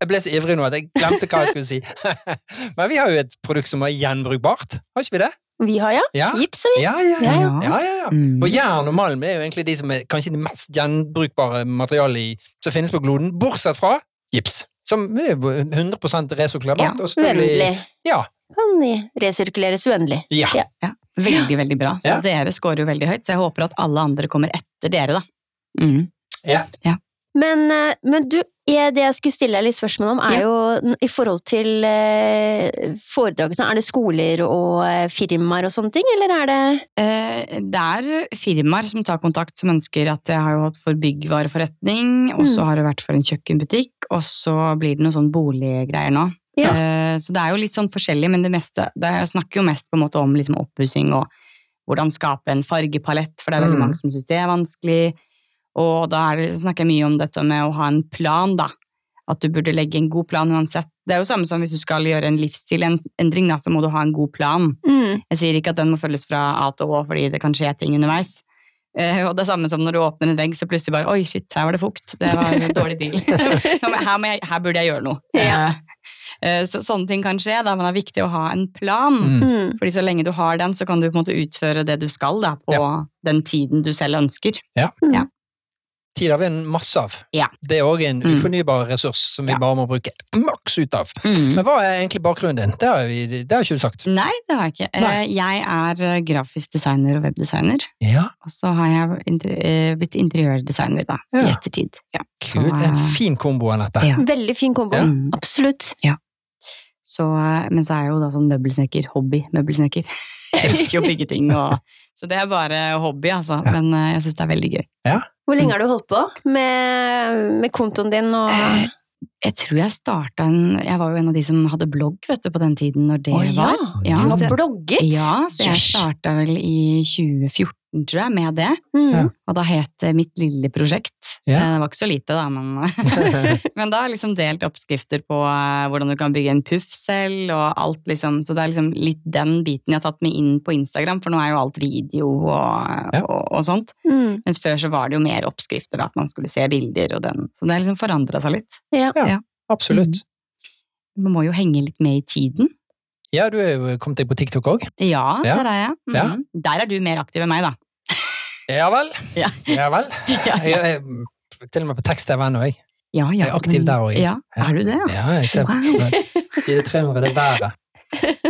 Speaker 1: jeg ble så ivrig nå at jeg glemte hva jeg skulle si. Men vi har jo et produkt som er gjenbrukbart, har ikke vi det?
Speaker 2: vi har ja,
Speaker 1: Ja,
Speaker 2: gips har vi.
Speaker 1: ja, ja. ja.
Speaker 2: Ja,
Speaker 1: ja, ja, ja.
Speaker 3: Mm.
Speaker 1: Og jern og malm er jo egentlig de som er kanskje det mest gjenbrukbare materialet i- som finnes på kloden, bortsett fra gips. Som er jo 100 resirkulerbart.
Speaker 3: Ja,
Speaker 1: og selvfølgelig-
Speaker 2: Uendelig.
Speaker 1: Ja.
Speaker 2: Kan i- resirkuleres uendelig.
Speaker 1: Ja.
Speaker 2: Ja.
Speaker 3: Veldig, veldig bra. Så
Speaker 1: Ja.
Speaker 3: dere scorer jo veldig høyt, så jeg håper at alle andre kommer etter dere, da. Mm.
Speaker 2: Men, eh, men du, eh, det jeg skulle stille deg litt spørsmål om, er
Speaker 3: Ja.
Speaker 2: jo n- i forhold til eh, foredraget. sånn, Er det skoler og eh, firmaer og sånne ting, eller er det
Speaker 3: Eh, Det er firmaer som tar kontakt, som ønsker at jeg har jo hatt for byggvareforretning, og så
Speaker 2: Mm.
Speaker 3: har det vært for en kjøkkenbutikk, og så blir det noen sånn boliggreier nå.
Speaker 2: Ja.
Speaker 3: Eh, Så det er jo litt sånn forskjellig, men det meste det, Jeg snakker jo mest på en måte om liksom oppussing og hvordan skape en fargepalett, for det er veldig
Speaker 1: Mm.
Speaker 3: mange som syns det er vanskelig. Og da er det, snakker jeg mye om dette med å ha en plan, da. At du burde legge en god plan uansett. Det er jo samme som hvis du skal gjøre en livsstilendring, da, så må du ha en god plan.
Speaker 2: Mm.
Speaker 3: Jeg sier ikke at den må følges fra A til Å, fordi det kan skje ting underveis. Eh, og det er samme som når du åpner en vegg, så plutselig bare Oi, shit, her var det fukt. Det var en dårlig deal. Nå må jeg- her, må jeg, her burde jeg gjøre noe.
Speaker 2: Ja.
Speaker 3: Eh, så, sånne ting kan skje, da, men det er viktig å ha en plan.
Speaker 1: Mm.
Speaker 2: Mm.
Speaker 3: Fordi så lenge du har den, så kan du på en måte utføre det du skal da, på den tiden du selv ønsker.
Speaker 1: Tid har vi en masse av.
Speaker 3: Ja.
Speaker 1: Det er òg en
Speaker 3: Mm.
Speaker 1: ufornybar ressurs som vi
Speaker 3: Ja. Mm.
Speaker 1: bare må bruke maks ut av. Men hva er egentlig bakgrunnen din? Det har, vi, det har ikke du sagt.
Speaker 3: Nei, det har jeg ikke. Eh,
Speaker 1: Nei.
Speaker 3: Jeg er eh, grafisk designer og webdesigner.
Speaker 1: Ja,
Speaker 3: Og så har jeg inter eh, blitt interiørdesigner da, i
Speaker 1: Ja.
Speaker 3: ettertid. Ja. Så,
Speaker 1: Gud, det er en
Speaker 3: eh,
Speaker 1: fin kombo, Anette.
Speaker 3: Ja.
Speaker 2: Veldig fin kombo.
Speaker 3: Ja. Mm.
Speaker 2: Absolutt.
Speaker 3: Så, men så er jeg jo da sånn møbelsnekker, hobby-møbelsnekker. Jeg elsker jo å bygge ting, og, så det er bare hobby, altså.
Speaker 1: Ja.
Speaker 3: Men eh, jeg syns det er veldig gøy.
Speaker 2: Hvor lenge har du holdt på med, med kontoen din og
Speaker 3: Eh, Jeg tror jeg starta en Jeg var jo en av de som hadde blogg vet du, på den tiden når det
Speaker 2: Å ja,
Speaker 3: var.
Speaker 2: du
Speaker 1: Ja,
Speaker 2: har
Speaker 3: så-
Speaker 2: blogget?
Speaker 3: Ja, så jeg
Speaker 2: Jøss.
Speaker 3: starta vel i 2014, tror jeg, med det.
Speaker 1: Ja.
Speaker 2: Mm.
Speaker 3: Og da het det Mitt lille prosjekt.
Speaker 1: Ja.
Speaker 3: Eh, Det var ikke så lite, da, men, men da har jeg liksom delt oppskrifter på eh, hvordan du kan bygge en puff selv, og alt liksom. Så det er liksom litt den biten jeg har tatt med inn på Instagram, for nå er jo alt video og,
Speaker 1: Ja.
Speaker 3: og, og sånt.
Speaker 2: Mm.
Speaker 3: Mens før så var det jo mer oppskrifter, da, at man skulle se bilder og den. Så det har liksom forandra seg litt.
Speaker 2: Ja.
Speaker 1: Ja.
Speaker 3: Mm.
Speaker 1: Absolutt.
Speaker 3: Man må jo henge litt med i tiden.
Speaker 1: Ja, du er jo kommet deg på TikTok òg.
Speaker 3: Ja,
Speaker 1: Ja.
Speaker 3: der er jeg. Mhm.
Speaker 1: Ja.
Speaker 3: Der er du mer aktiv enn meg, da.
Speaker 1: Ja vel.
Speaker 3: Ja.
Speaker 1: Ja vel.
Speaker 3: Ja,
Speaker 1: Jeg er til og med på tekst-TV ennå, jeg.
Speaker 3: ja, ja.
Speaker 1: Jeg er aktiv der også, jeg.
Speaker 3: Ja,
Speaker 1: Ja.
Speaker 3: er du det? Ja.
Speaker 1: Ja, jeg ser på side 300, det er været.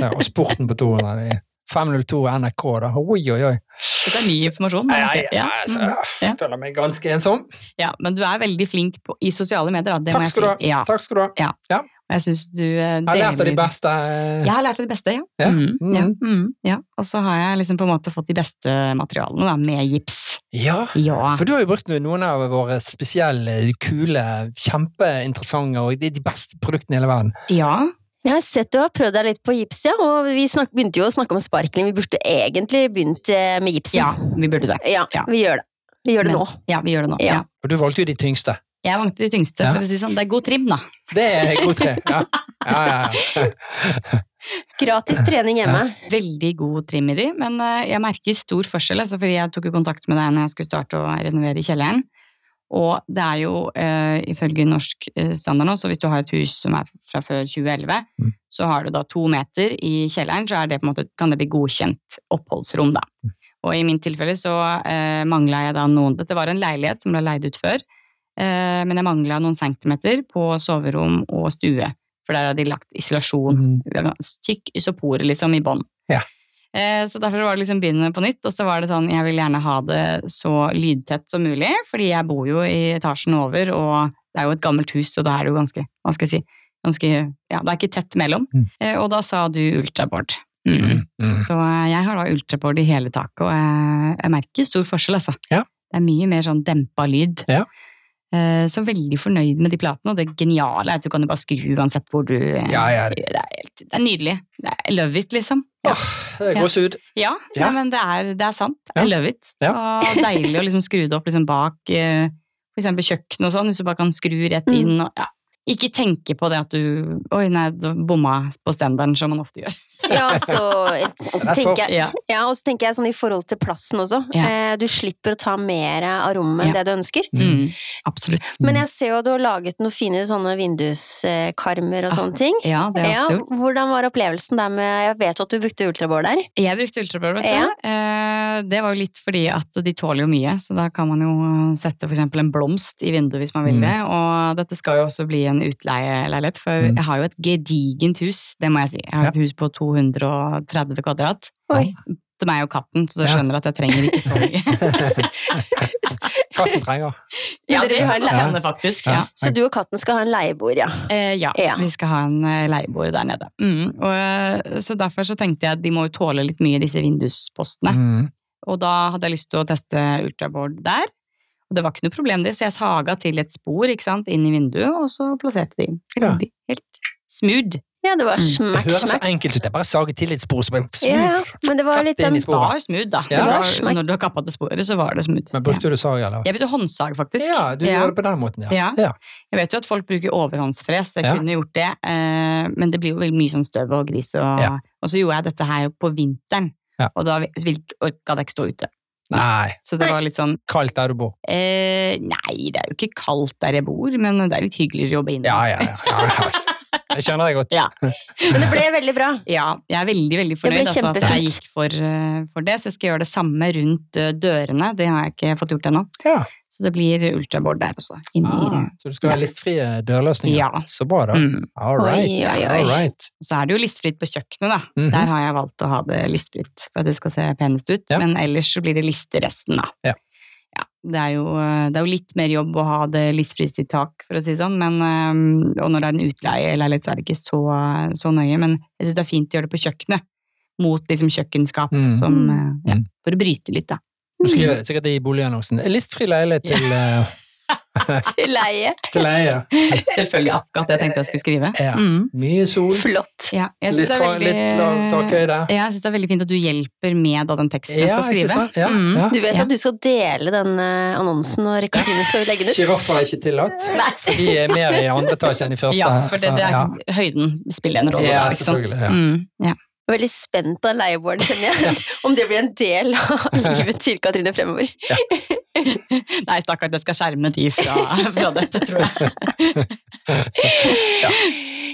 Speaker 1: Ja, og sporten på 200. det er 502 NRK, da. Oi, oi, oi.
Speaker 3: Dette er ny informasjon.
Speaker 1: Nei,
Speaker 3: men
Speaker 1: nei,
Speaker 3: ok.
Speaker 1: nei,
Speaker 3: Ja.
Speaker 1: altså,
Speaker 3: mhm. Ja.
Speaker 1: jeg føler meg ganske ensom.
Speaker 3: ja, men du er veldig flink på, i sosiale medier, da. Det må
Speaker 1: Takk
Speaker 3: jeg
Speaker 1: skal du ha.
Speaker 3: si. Ja,
Speaker 1: Takk skal du ha.
Speaker 3: og jeg synes du eh,
Speaker 1: Jeg har lært av de
Speaker 3: deler-
Speaker 1: beste. eh,
Speaker 3: Jeg har lært av de beste, ja.
Speaker 1: Ja.
Speaker 3: Mhm,
Speaker 1: Mhm.
Speaker 3: ja. mhm, ja. Og så har jeg liksom på en måte fått de beste materialene, da, med gips.
Speaker 1: Ja.
Speaker 3: Ja.
Speaker 1: For du har jo brukt noen av våre spesielle, kule, kjempeinteressante og de de beste produktene i hele verden.
Speaker 3: ja.
Speaker 2: Jeg har sett du har prøvd deg litt på gips, ja. Og vi snak, begynte jo å snakke om sparkling. Vi burde egentlig begynt eh, med gipsen.
Speaker 3: Ja, vi burde det.
Speaker 2: Ja,
Speaker 3: Ja.
Speaker 2: vi gjør det. Vi gjør det
Speaker 3: Men-
Speaker 2: nå.
Speaker 3: Ja, vi gjør det nå.
Speaker 2: Ja.
Speaker 3: Ja.
Speaker 1: Og du valgte jo de tyngste.
Speaker 3: Jeg vant de tyngste,
Speaker 1: Ja.
Speaker 3: for å si det sånn. Det er god trim, da.
Speaker 1: Det er god tre. Ja, ja, ja. ja.
Speaker 2: Gratis trening hjemme.
Speaker 3: Veldig god trim i de, men eh, jeg merker stor forskjell, altså, fordi jeg tok jo kontakt med deg når jeg skulle starte å renovere kjelleren. Og det er jo, eh, ifølge norsk eh, standard nå, så hvis du har et hus som er fra før 2011,
Speaker 1: Mm.
Speaker 3: så har du da to meter i kjelleren, så er det på en måte, kan det bli godkjent oppholdsrom, da. Og i min tilfelle så eh, mangla jeg da noen Dette var en leilighet som ble leid ut før, eh, men jeg mangla noen centimeter på soverom og stue, for der har de lagt isolasjon
Speaker 1: Mm.
Speaker 3: tykk isopor liksom i bånn.
Speaker 1: Ja.
Speaker 3: Eh, Så derfor var det liksom begynne på nytt, og så var det sånn, jeg vil gjerne ha det så lydtett som mulig, fordi jeg bor jo i etasjen over, og det er jo et gammelt hus, så da er det jo ganske, hva skal jeg si, ganske, ja, det er ikke tett mellom.
Speaker 1: Mm.
Speaker 3: Eh, Og da sa du ultraboard. Mm.
Speaker 1: Mm, mm.
Speaker 3: Så eh, jeg har da ultraboard i hele taket, og jeg, jeg merker stor forskjell, altså.
Speaker 1: Ja.
Speaker 3: Det er mye mer sånn dempa lyd.
Speaker 1: Ja.
Speaker 3: Eh, Så veldig fornøyd med de platene, og det geniale er at du kan jo bare skru uansett hvor du eh,
Speaker 1: Ja, ja.
Speaker 3: det er, helt, det er nydelig. Det er I love it, liksom.
Speaker 1: Åh, Det er gåsehud.
Speaker 3: Ja,
Speaker 1: Ja.
Speaker 3: Nei, men det er, det er sant.
Speaker 1: Ja.
Speaker 3: I love it. Og deilig å liksom skru det opp liksom bak eh, for eksempel kjøkken og sånn, hvis du bare kan skru rett
Speaker 2: Mm.
Speaker 3: inn. Og, ja. Ikke tenke på det at du Oi, nei, da bomma jeg på standarden, som man ofte gjør.
Speaker 2: Ja, så eh, tenker jeg,
Speaker 3: Ja.
Speaker 2: ja, og så tenker jeg sånn i forhold til plassen også.
Speaker 3: Ja.
Speaker 2: Eh, Du slipper å ta mer av rommet enn
Speaker 3: Ja.
Speaker 2: det du ønsker.
Speaker 3: Mm. Absolutt.
Speaker 2: Men jeg ser jo at du har laget noen fine sånne vinduskarmer og
Speaker 3: Ah,
Speaker 2: sånne ting.
Speaker 3: Ja, det er
Speaker 2: Ja,
Speaker 3: også gjort.
Speaker 2: hvordan var opplevelsen der med Jeg vet jo at du brukte ultraboard der.
Speaker 3: Jeg brukte ultrablå, vet du.
Speaker 2: Ja.
Speaker 3: Eh, Det var jo litt fordi at de tåler jo mye, så da kan man jo sette for eksempel en blomst i vinduet hvis man vil
Speaker 1: Mm.
Speaker 3: det. Og dette skal jo også bli en utleieleilighet, for
Speaker 1: Mm.
Speaker 3: jeg har jo et gedigent hus, det må jeg si. Jeg har et hus på 230 kvadrat.
Speaker 2: Oi.
Speaker 3: Til meg og katten, så du
Speaker 1: Ja.
Speaker 3: skjønner at jeg trenger ikke så mye.
Speaker 1: Katten trenger.
Speaker 2: Ja, dere har en
Speaker 1: leie.
Speaker 3: henne faktisk.
Speaker 1: Ja.
Speaker 3: Ja.
Speaker 2: Så du og katten skal ha en leieboer, ja.
Speaker 3: Eh, ja,
Speaker 2: Ja.
Speaker 3: vi skal ha en eh, leieboer der nede. Mm. Og, eh, så derfor så tenkte jeg at de må jo tåle litt mye, disse vinduspostene.
Speaker 1: Mm.
Speaker 3: Og da hadde jeg lyst til å teste ultraboard der. Og det var ikke noe problem det, så jeg saga til et spor ikke sant, inn i vinduet, og så plasserte de.
Speaker 1: Ja.
Speaker 3: Helt smooth.
Speaker 2: Ja, det var
Speaker 3: Mm.
Speaker 1: Det
Speaker 2: smack,
Speaker 1: høres så
Speaker 2: smack.
Speaker 1: enkelt ut. Jeg bare sager til litt spor. Så bare smooth.
Speaker 2: Ja, ja. Men det var
Speaker 1: Rett
Speaker 2: litt um,
Speaker 1: inn i
Speaker 2: den
Speaker 3: Det var smooth, da.
Speaker 1: Ja.
Speaker 3: Det
Speaker 2: Smekk.
Speaker 3: var, når du har kappa til sporet, så var det smooth.
Speaker 1: Men brukte du sag,
Speaker 3: Ja.
Speaker 1: eller?
Speaker 3: Jeg brukte håndsag, faktisk.
Speaker 1: Ja, du gjør det på den måten, ja.
Speaker 3: Ja. Jeg vet jo at folk bruker overhåndsfres, jeg
Speaker 1: Ja.
Speaker 3: kunne gjort det, eh, men det blir jo veldig mye sånn støv og gris. Og,
Speaker 1: Ja.
Speaker 3: og så gjorde jeg dette her jo på vinteren,
Speaker 1: Ja.
Speaker 3: og da vil- orka det ikke stå ute.
Speaker 1: Nei,
Speaker 3: Så det
Speaker 2: Nei.
Speaker 3: var litt sånn
Speaker 1: kaldt der du bor.
Speaker 3: Eh, nei, det er jo ikke kaldt der jeg bor, men det er jo litt hyggeligere å jobbe inne.
Speaker 1: Ja, ja, ja. ja, ja. Jeg skjønner deg godt.
Speaker 2: Men det ble veldig bra.
Speaker 3: Ja, jeg er veldig veldig fornøyd
Speaker 2: Det ble
Speaker 3: altså, at jeg
Speaker 2: kjempefint.
Speaker 3: gikk for, eh, for det. Så jeg skal gjøre det samme rundt eh, dørene. Det har jeg ikke fått gjort ennå.
Speaker 1: Ja.
Speaker 3: Så det blir ultraboard der også. Inni,
Speaker 1: Ah, så du skal ha listfrie dørløsninger?
Speaker 3: Mm. Ja.
Speaker 1: Så bra,
Speaker 2: Ah.
Speaker 1: da.
Speaker 3: mm.
Speaker 1: All
Speaker 2: Oi,
Speaker 1: right.
Speaker 2: oi, oi.
Speaker 1: All right.
Speaker 3: Så er det jo listfritt på kjøkkenet, da.
Speaker 1: Mhm.
Speaker 3: Der har jeg valgt å ha det listfritt for at det skal se penest ut.
Speaker 1: Ja.
Speaker 3: Men ellers så blir det liste resten, da.
Speaker 1: Ja.
Speaker 3: Ja, det, er jo, eh, det er jo litt mer jobb å ha det listfritt i tak, for å si det sånn. Men, eh, og når det er en utleieleilighet, så er det ikke så, så nøye. Men jeg syns det er fint å gjøre det på kjøkkenet. Mot liksom kjøkkenskap,
Speaker 1: Mm.
Speaker 3: som, eh, ja,
Speaker 1: Mm.
Speaker 3: for å bryte litt, da.
Speaker 1: Du skriver det sikkert i boligannonsen. Listfri leilighet til eh,
Speaker 2: til leie.
Speaker 1: til leie.
Speaker 3: Selvfølgelig akkurat det jeg tenkte jeg skulle skrive.
Speaker 1: Ja.
Speaker 3: Mm.
Speaker 1: Mye sol,
Speaker 2: Flott.
Speaker 3: Ja, jeg synes
Speaker 1: litt,
Speaker 3: det er
Speaker 1: fa-
Speaker 3: veldig-
Speaker 1: litt lav takhøyde.
Speaker 3: Ja, jeg syns det er veldig fint at du hjelper med da, den teksten jeg skal
Speaker 1: ikke
Speaker 3: skrive.
Speaker 1: sant? Ja,
Speaker 3: Mm.
Speaker 1: ja.
Speaker 2: Du vet
Speaker 3: Ja.
Speaker 2: at du skal dele den eh, annonsen når Rekordine skal legge den ut?
Speaker 1: Sjiraffer er ikke tillatt.
Speaker 2: Nei.
Speaker 1: De er mer i andre etasje enn i første.
Speaker 3: Ja, for det,
Speaker 1: så-
Speaker 3: det er,
Speaker 1: ja.
Speaker 3: høyden spiller en rolle.
Speaker 1: Ja,
Speaker 3: da, ikke sant?
Speaker 1: selvfølgelig, ja.
Speaker 3: Mm, ja.
Speaker 2: Jeg er veldig spent på den leieboeren, kjenner jeg. Om det blir en del av livet til Katrine fremover.
Speaker 3: Nei, stakkar, det skal skjerme de fra, fra dette, tror jeg.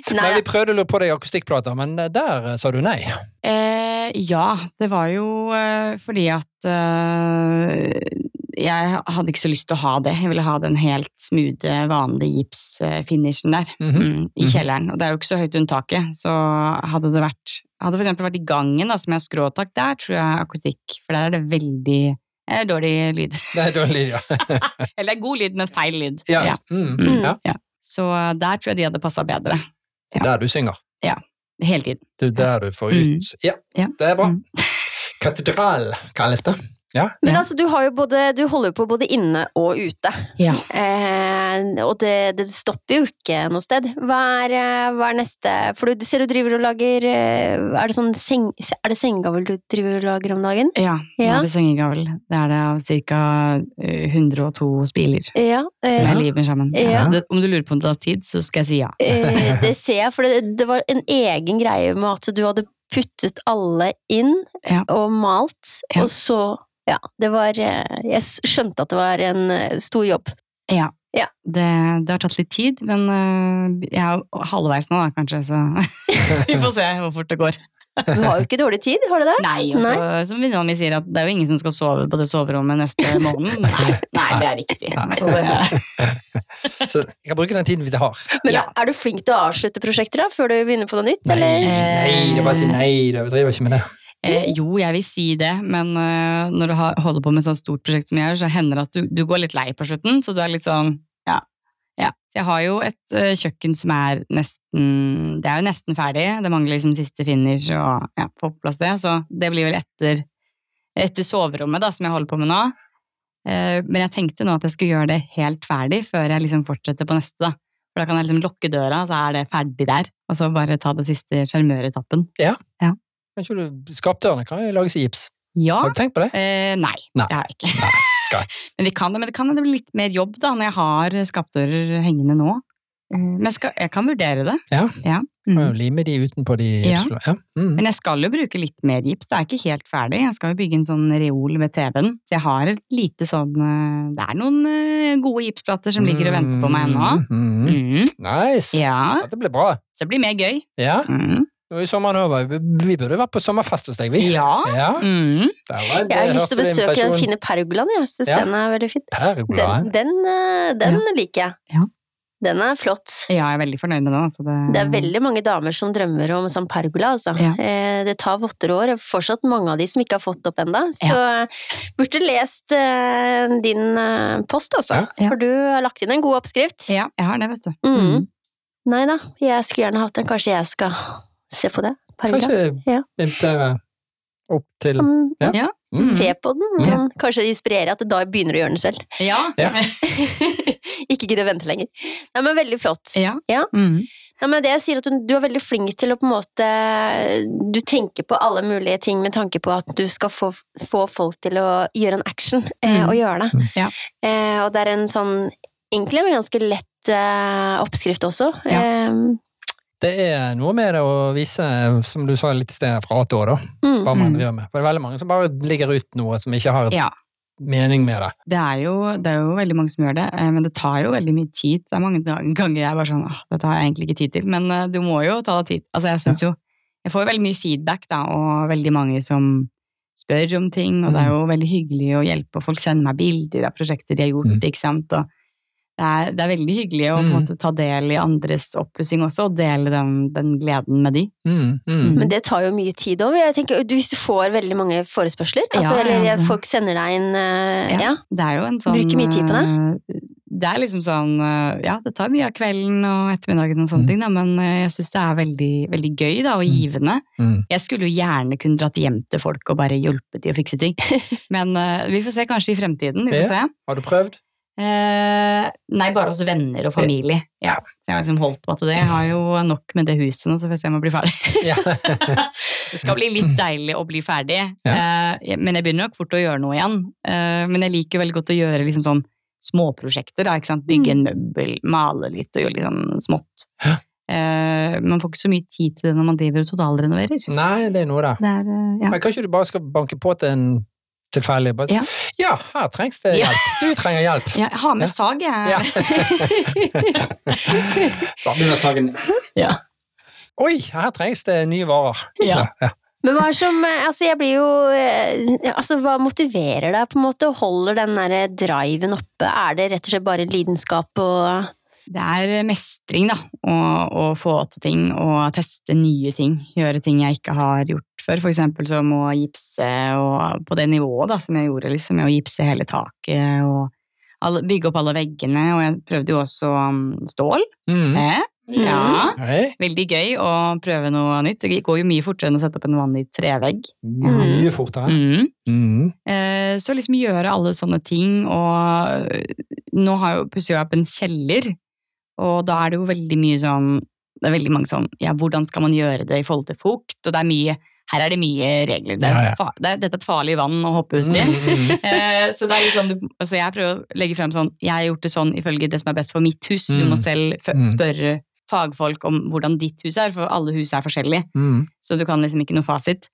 Speaker 2: Nei,
Speaker 1: Nei, vi prøvde å lure på deg akustikkplater, men der eh, sa du nei.
Speaker 3: Eh, ja, det var jo eh, fordi at eh, jeg hadde ikke så lyst til å ha det. Jeg ville ha den helt smoothe, vanlige gipsfinishen der.
Speaker 1: Mhm.
Speaker 3: Mm, I kjelleren. Og det er jo ikke så høyt under taket, så hadde det vært Hadde for eksempel vært i gangen, da, som jeg har skråtak, der tror jeg akustikk, for der er det veldig eh, dårlig lyd.
Speaker 1: Det er dårlig, ja.
Speaker 3: Eller det er god lyd, men feil lyd.
Speaker 1: Ja.
Speaker 3: Ja.
Speaker 1: Mm.
Speaker 3: Mm.
Speaker 1: Ja.
Speaker 3: Så der tror jeg de hadde passa bedre. Ja.
Speaker 1: Der du synger.
Speaker 3: Hele tiden.
Speaker 1: Det er der du får
Speaker 3: Mm.
Speaker 1: ut. Ja,
Speaker 3: Ja.
Speaker 1: det er bra.
Speaker 3: Mm.
Speaker 1: Katedral kalles det.
Speaker 2: men
Speaker 3: Ja.
Speaker 2: altså, du, har jo både, du holder jo på både inne og ute.
Speaker 3: Ja.
Speaker 2: Eh, og det, det stopper jo ikke noe sted. Hva er, eh, hva er neste For du ser du driver og lager eh, Er det sånn seng, er det sengegavel du driver og lager om dagen?
Speaker 3: Ja,
Speaker 2: Ja.
Speaker 3: nå er det sengegavl. Det er det av eh, ca. 102 spiler
Speaker 2: Ja.
Speaker 3: som
Speaker 2: Eh,
Speaker 3: jeg limer sammen.
Speaker 2: Ja.
Speaker 3: Det, om du lurer på om det har tid, så skal jeg si ja.
Speaker 2: eh, det ser jeg, for det, det var en egen greie med at du hadde puttet alle inn
Speaker 3: Ja.
Speaker 2: og malt,
Speaker 3: Ja.
Speaker 2: og så Ja, det var eh, Jeg skjønte at det var en eh, stor jobb.
Speaker 3: Det, det har tatt litt tid, men øh, jeg er jo halvveis nå, da, kanskje, så vi får se hvor fort det går.
Speaker 2: Du har jo ikke dårlig tid, har du det?
Speaker 3: Nei, og så, som venninna mi sier, at det er jo ingen som skal sove på det soverommet neste måned. Nei, nei det er riktig. Så det,
Speaker 1: Så jeg kan bruke den tiden vi har.
Speaker 2: Men
Speaker 3: Ja.
Speaker 2: er du flink til å avslutte prosjekter da, før du begynner på noe nytt?
Speaker 1: Nei,
Speaker 2: Eller?
Speaker 1: nei, det er bare å si nei, da. vi driver ikke med det.
Speaker 3: eh, jo, jeg vil si det, men øh, når du har, holder på med et sånt stort prosjekt som jeg gjør, så hender det at du, du går litt lei på slutten, så du er litt sånn ja. ja. Så jeg har jo et øh, kjøkken som er nesten Det er jo nesten ferdig. Det mangler liksom siste finish og ja, få på plass det, så det blir vel etter, etter soverommet, da, som jeg holder på med nå. Eh, men jeg tenkte nå at jeg skulle gjøre det helt ferdig før jeg liksom fortsetter på neste, da. For da kan jeg liksom lukke døra, så er det ferdig der. Og så bare ta det siste sjarmøretappen.
Speaker 1: Kanskje du skapdørene kan jo lages i gips.
Speaker 3: Ja,
Speaker 1: Har du tenkt på det?
Speaker 3: Eh, nei,
Speaker 1: Nei.
Speaker 3: det har jeg ikke.
Speaker 1: greit.
Speaker 3: men, vi kan det, men det kan hende det blir litt mer jobb da, når jeg har skapdører hengende nå. Eh, Men jeg skal, jeg kan vurdere det.
Speaker 1: Ja.
Speaker 3: Mm.
Speaker 1: Kan jo Lime de utenpå de
Speaker 3: Ja.
Speaker 1: gipsene. Ja. Mm.
Speaker 3: Men jeg skal jo bruke litt mer gips. Det er ikke helt ferdig. Jeg skal jo bygge en sånn reol ved TV-en. Så jeg har et lite sånn eh, Det er noen eh, gode gipsplater som ligger og venter på meg ennå.
Speaker 1: Mm. Mm.
Speaker 3: Mm.
Speaker 1: Nice!
Speaker 3: Ja,
Speaker 1: Dette ble bra.
Speaker 3: så det blir mer gøy.
Speaker 1: Ja,
Speaker 3: Mm.
Speaker 1: nå er jo sommeren over. Vi vi burde vært på sommerfest hos deg, vi.
Speaker 3: Ja.
Speaker 1: Ja,
Speaker 3: Mm.
Speaker 1: der var det.
Speaker 2: Jeg har lyst
Speaker 1: Hørte
Speaker 2: til å
Speaker 1: du
Speaker 2: besøke den
Speaker 1: invitasjonen?
Speaker 2: fine pergolaen, jeg syns
Speaker 1: Ja.
Speaker 2: den er veldig fin.
Speaker 1: Pergola.
Speaker 2: Den, den, eh, den liker jeg.
Speaker 3: Ja.
Speaker 2: Den er flott.
Speaker 3: ja, jeg er veldig fornøyd med den. Altså det,
Speaker 2: Det er veldig mange damer som drømmer om sånn pergola, altså.
Speaker 3: Ja.
Speaker 2: Eh, Det tar votter år, og fortsatt mange av de som ikke har fått det opp ennå. Så eh, burde lest eh, din eh, post, altså.
Speaker 1: Ja.
Speaker 3: Ja.
Speaker 2: For du har lagt inn en god oppskrift.
Speaker 3: Ja, jeg har det, vet du.
Speaker 2: Mm. Nei da, jeg skulle gjerne hatt den. Kanskje jeg skal se på det? Pergola.
Speaker 1: Kanskje
Speaker 2: Ja.
Speaker 1: invitere opp til
Speaker 2: Mm.
Speaker 1: Ja.
Speaker 3: Ja.
Speaker 1: Mm.
Speaker 2: Se på den,
Speaker 1: Ja.
Speaker 2: men kanskje inspirere at da begynner du å gjøre den selv.
Speaker 3: Ja.
Speaker 1: Ja.
Speaker 2: ikke gidde å vente lenger. Nei, men veldig flott.
Speaker 3: ja.
Speaker 2: Ja.
Speaker 3: Mm.
Speaker 2: Nei, men det jeg sier at du, du er veldig flink til å på en måte Du tenker på alle mulige ting med tanke på at du skal få, få folk til å gjøre en action, eh,
Speaker 3: Mm.
Speaker 2: og gjøre det.
Speaker 1: Mm.
Speaker 3: Ja.
Speaker 2: Eh, og det er en sånn Egentlig en ganske lett eh, oppskrift også.
Speaker 3: Ja.
Speaker 2: Eh,
Speaker 1: Det er noe med det å vise, som du sa litt i sted, fra A til Å, da,
Speaker 2: mm.
Speaker 1: hva man
Speaker 3: Mm.
Speaker 1: driver med. For det er veldig mange som bare ligger ut noe som ikke har et
Speaker 3: Ja.
Speaker 1: mening med det.
Speaker 3: Det er, jo, det er jo veldig mange som gjør det, eh, men det tar jo veldig mye tid. Det er mange da- ganger jeg er bare sånn Åh, dette har jeg egentlig ikke tid til. Men eh, du må jo ta deg tid. Altså, jeg synes jo Jeg får jo veldig mye feedback, da, og veldig mange som spør om ting, og det er
Speaker 1: Mm.
Speaker 3: jo veldig hyggelig å hjelpe, og folk sender meg bilder av prosjekter de har gjort,
Speaker 1: Mm.
Speaker 3: ikke sant. Og det er, det er veldig hyggelig å på en
Speaker 1: Mm.
Speaker 3: måte ta del i andres oppussing også, og dele den, den gleden med de.
Speaker 1: Mm, mm.
Speaker 3: Mm.
Speaker 2: Men det tar jo mye tid òg. Hvis du får veldig mange forespørsler,
Speaker 3: Ja,
Speaker 2: altså, eller
Speaker 3: ja, det-
Speaker 2: folk sender deg en eh,
Speaker 3: Ja.
Speaker 2: ja.
Speaker 3: Det er jo en sånn
Speaker 2: Bruker mye tid på
Speaker 3: det? Det er liksom sånn eh, Ja, det tar mye av kvelden og ettermiddagen og sånne
Speaker 1: Mm.
Speaker 3: ting, da, men eh, jeg syns det er veldig, veldig gøy da, og
Speaker 1: Mm.
Speaker 3: givende.
Speaker 1: Mm.
Speaker 3: Jeg skulle jo gjerne kunne dratt hjem til folk og bare hjulpet de å fikse ting, men eh, vi får se kanskje i fremtiden. Vi får se.
Speaker 1: Har du prøvd?
Speaker 3: Eh, nei, bare hos venner og familie. Ja. Så jeg har liksom holdt meg til det. Jeg har jo nok med det huset nå, så får jeg se om jeg blir ferdig.
Speaker 1: Ja.
Speaker 3: Det skal bli litt deilig å bli ferdig, eh, men jeg begynner nok fort å gjøre noe igjen. Eh, men jeg liker veldig godt å gjøre liksom sånn småprosjekter. Da, ikke sant? Bygge en møbel, male litt og gjøre litt sånn smått.
Speaker 1: Ja.
Speaker 3: Eh, man får ikke så mye tid til det når man driver og totalrenoverer.
Speaker 1: Nei, det er noe, da.
Speaker 3: Det er, eh, ja.
Speaker 1: Men kanskje du bare skal banke på til en tilfeldig bare, ja.
Speaker 3: Ja.
Speaker 1: her trengs det
Speaker 3: Ja.
Speaker 1: hjelp. Du trenger hjelp.
Speaker 3: Ja, jeg har med sag, jeg.
Speaker 1: Ja. Da begynner saken.
Speaker 3: Ja.
Speaker 1: Oi, her trengs det nye varer.
Speaker 3: Ja.
Speaker 2: Men hva er som eh, Altså, jeg blir jo eh, Altså, hva motiverer deg, på en måte, og holder den derre driven oppe? Er det rett og slett bare lidenskap og eh,
Speaker 3: Det er mestring, da. Å, å få til ting og teste nye ting. Gjøre ting jeg ikke har gjort før. For eksempel som å gipse og på det nivået da, som jeg gjorde, liksom, med å gipse hele taket og alle, bygge opp alle veggene. Og jeg prøvde jo også um, stål.
Speaker 1: Mm.
Speaker 3: Eh? Ja.
Speaker 1: Hei.
Speaker 3: Veldig gøy å prøve noe nytt. Det går jo mye fortere enn å sette opp en vanlig trevegg.
Speaker 1: Mye fortere.
Speaker 3: Mm.
Speaker 1: Mm.
Speaker 3: Eh, Så liksom gjøre alle sånne ting, og eh, nå har jo, pusser jeg opp en kjeller, og da er det jo veldig mye sånn, det er veldig mange sånn, ja, hvordan skal man gjøre det i forhold til fukt, og det er mye, her er det mye regler, det er,
Speaker 1: Ja, ja.
Speaker 3: fa- det er, dette er et farlig vann å hoppe ut
Speaker 1: Mm.
Speaker 3: i.
Speaker 1: Mm.
Speaker 3: Eh, Så det er litt sånn, du- altså jeg prøver å legge frem sånn, jeg har gjort det sånn ifølge det som er best for mitt hus, du
Speaker 1: Mm.
Speaker 3: må selv fø-
Speaker 1: Mm.
Speaker 3: spørre fagfolk om hvordan ditt hus er, for alle hus er forskjellige.
Speaker 1: Mm.
Speaker 3: Så du kan liksom ikke noe fasit.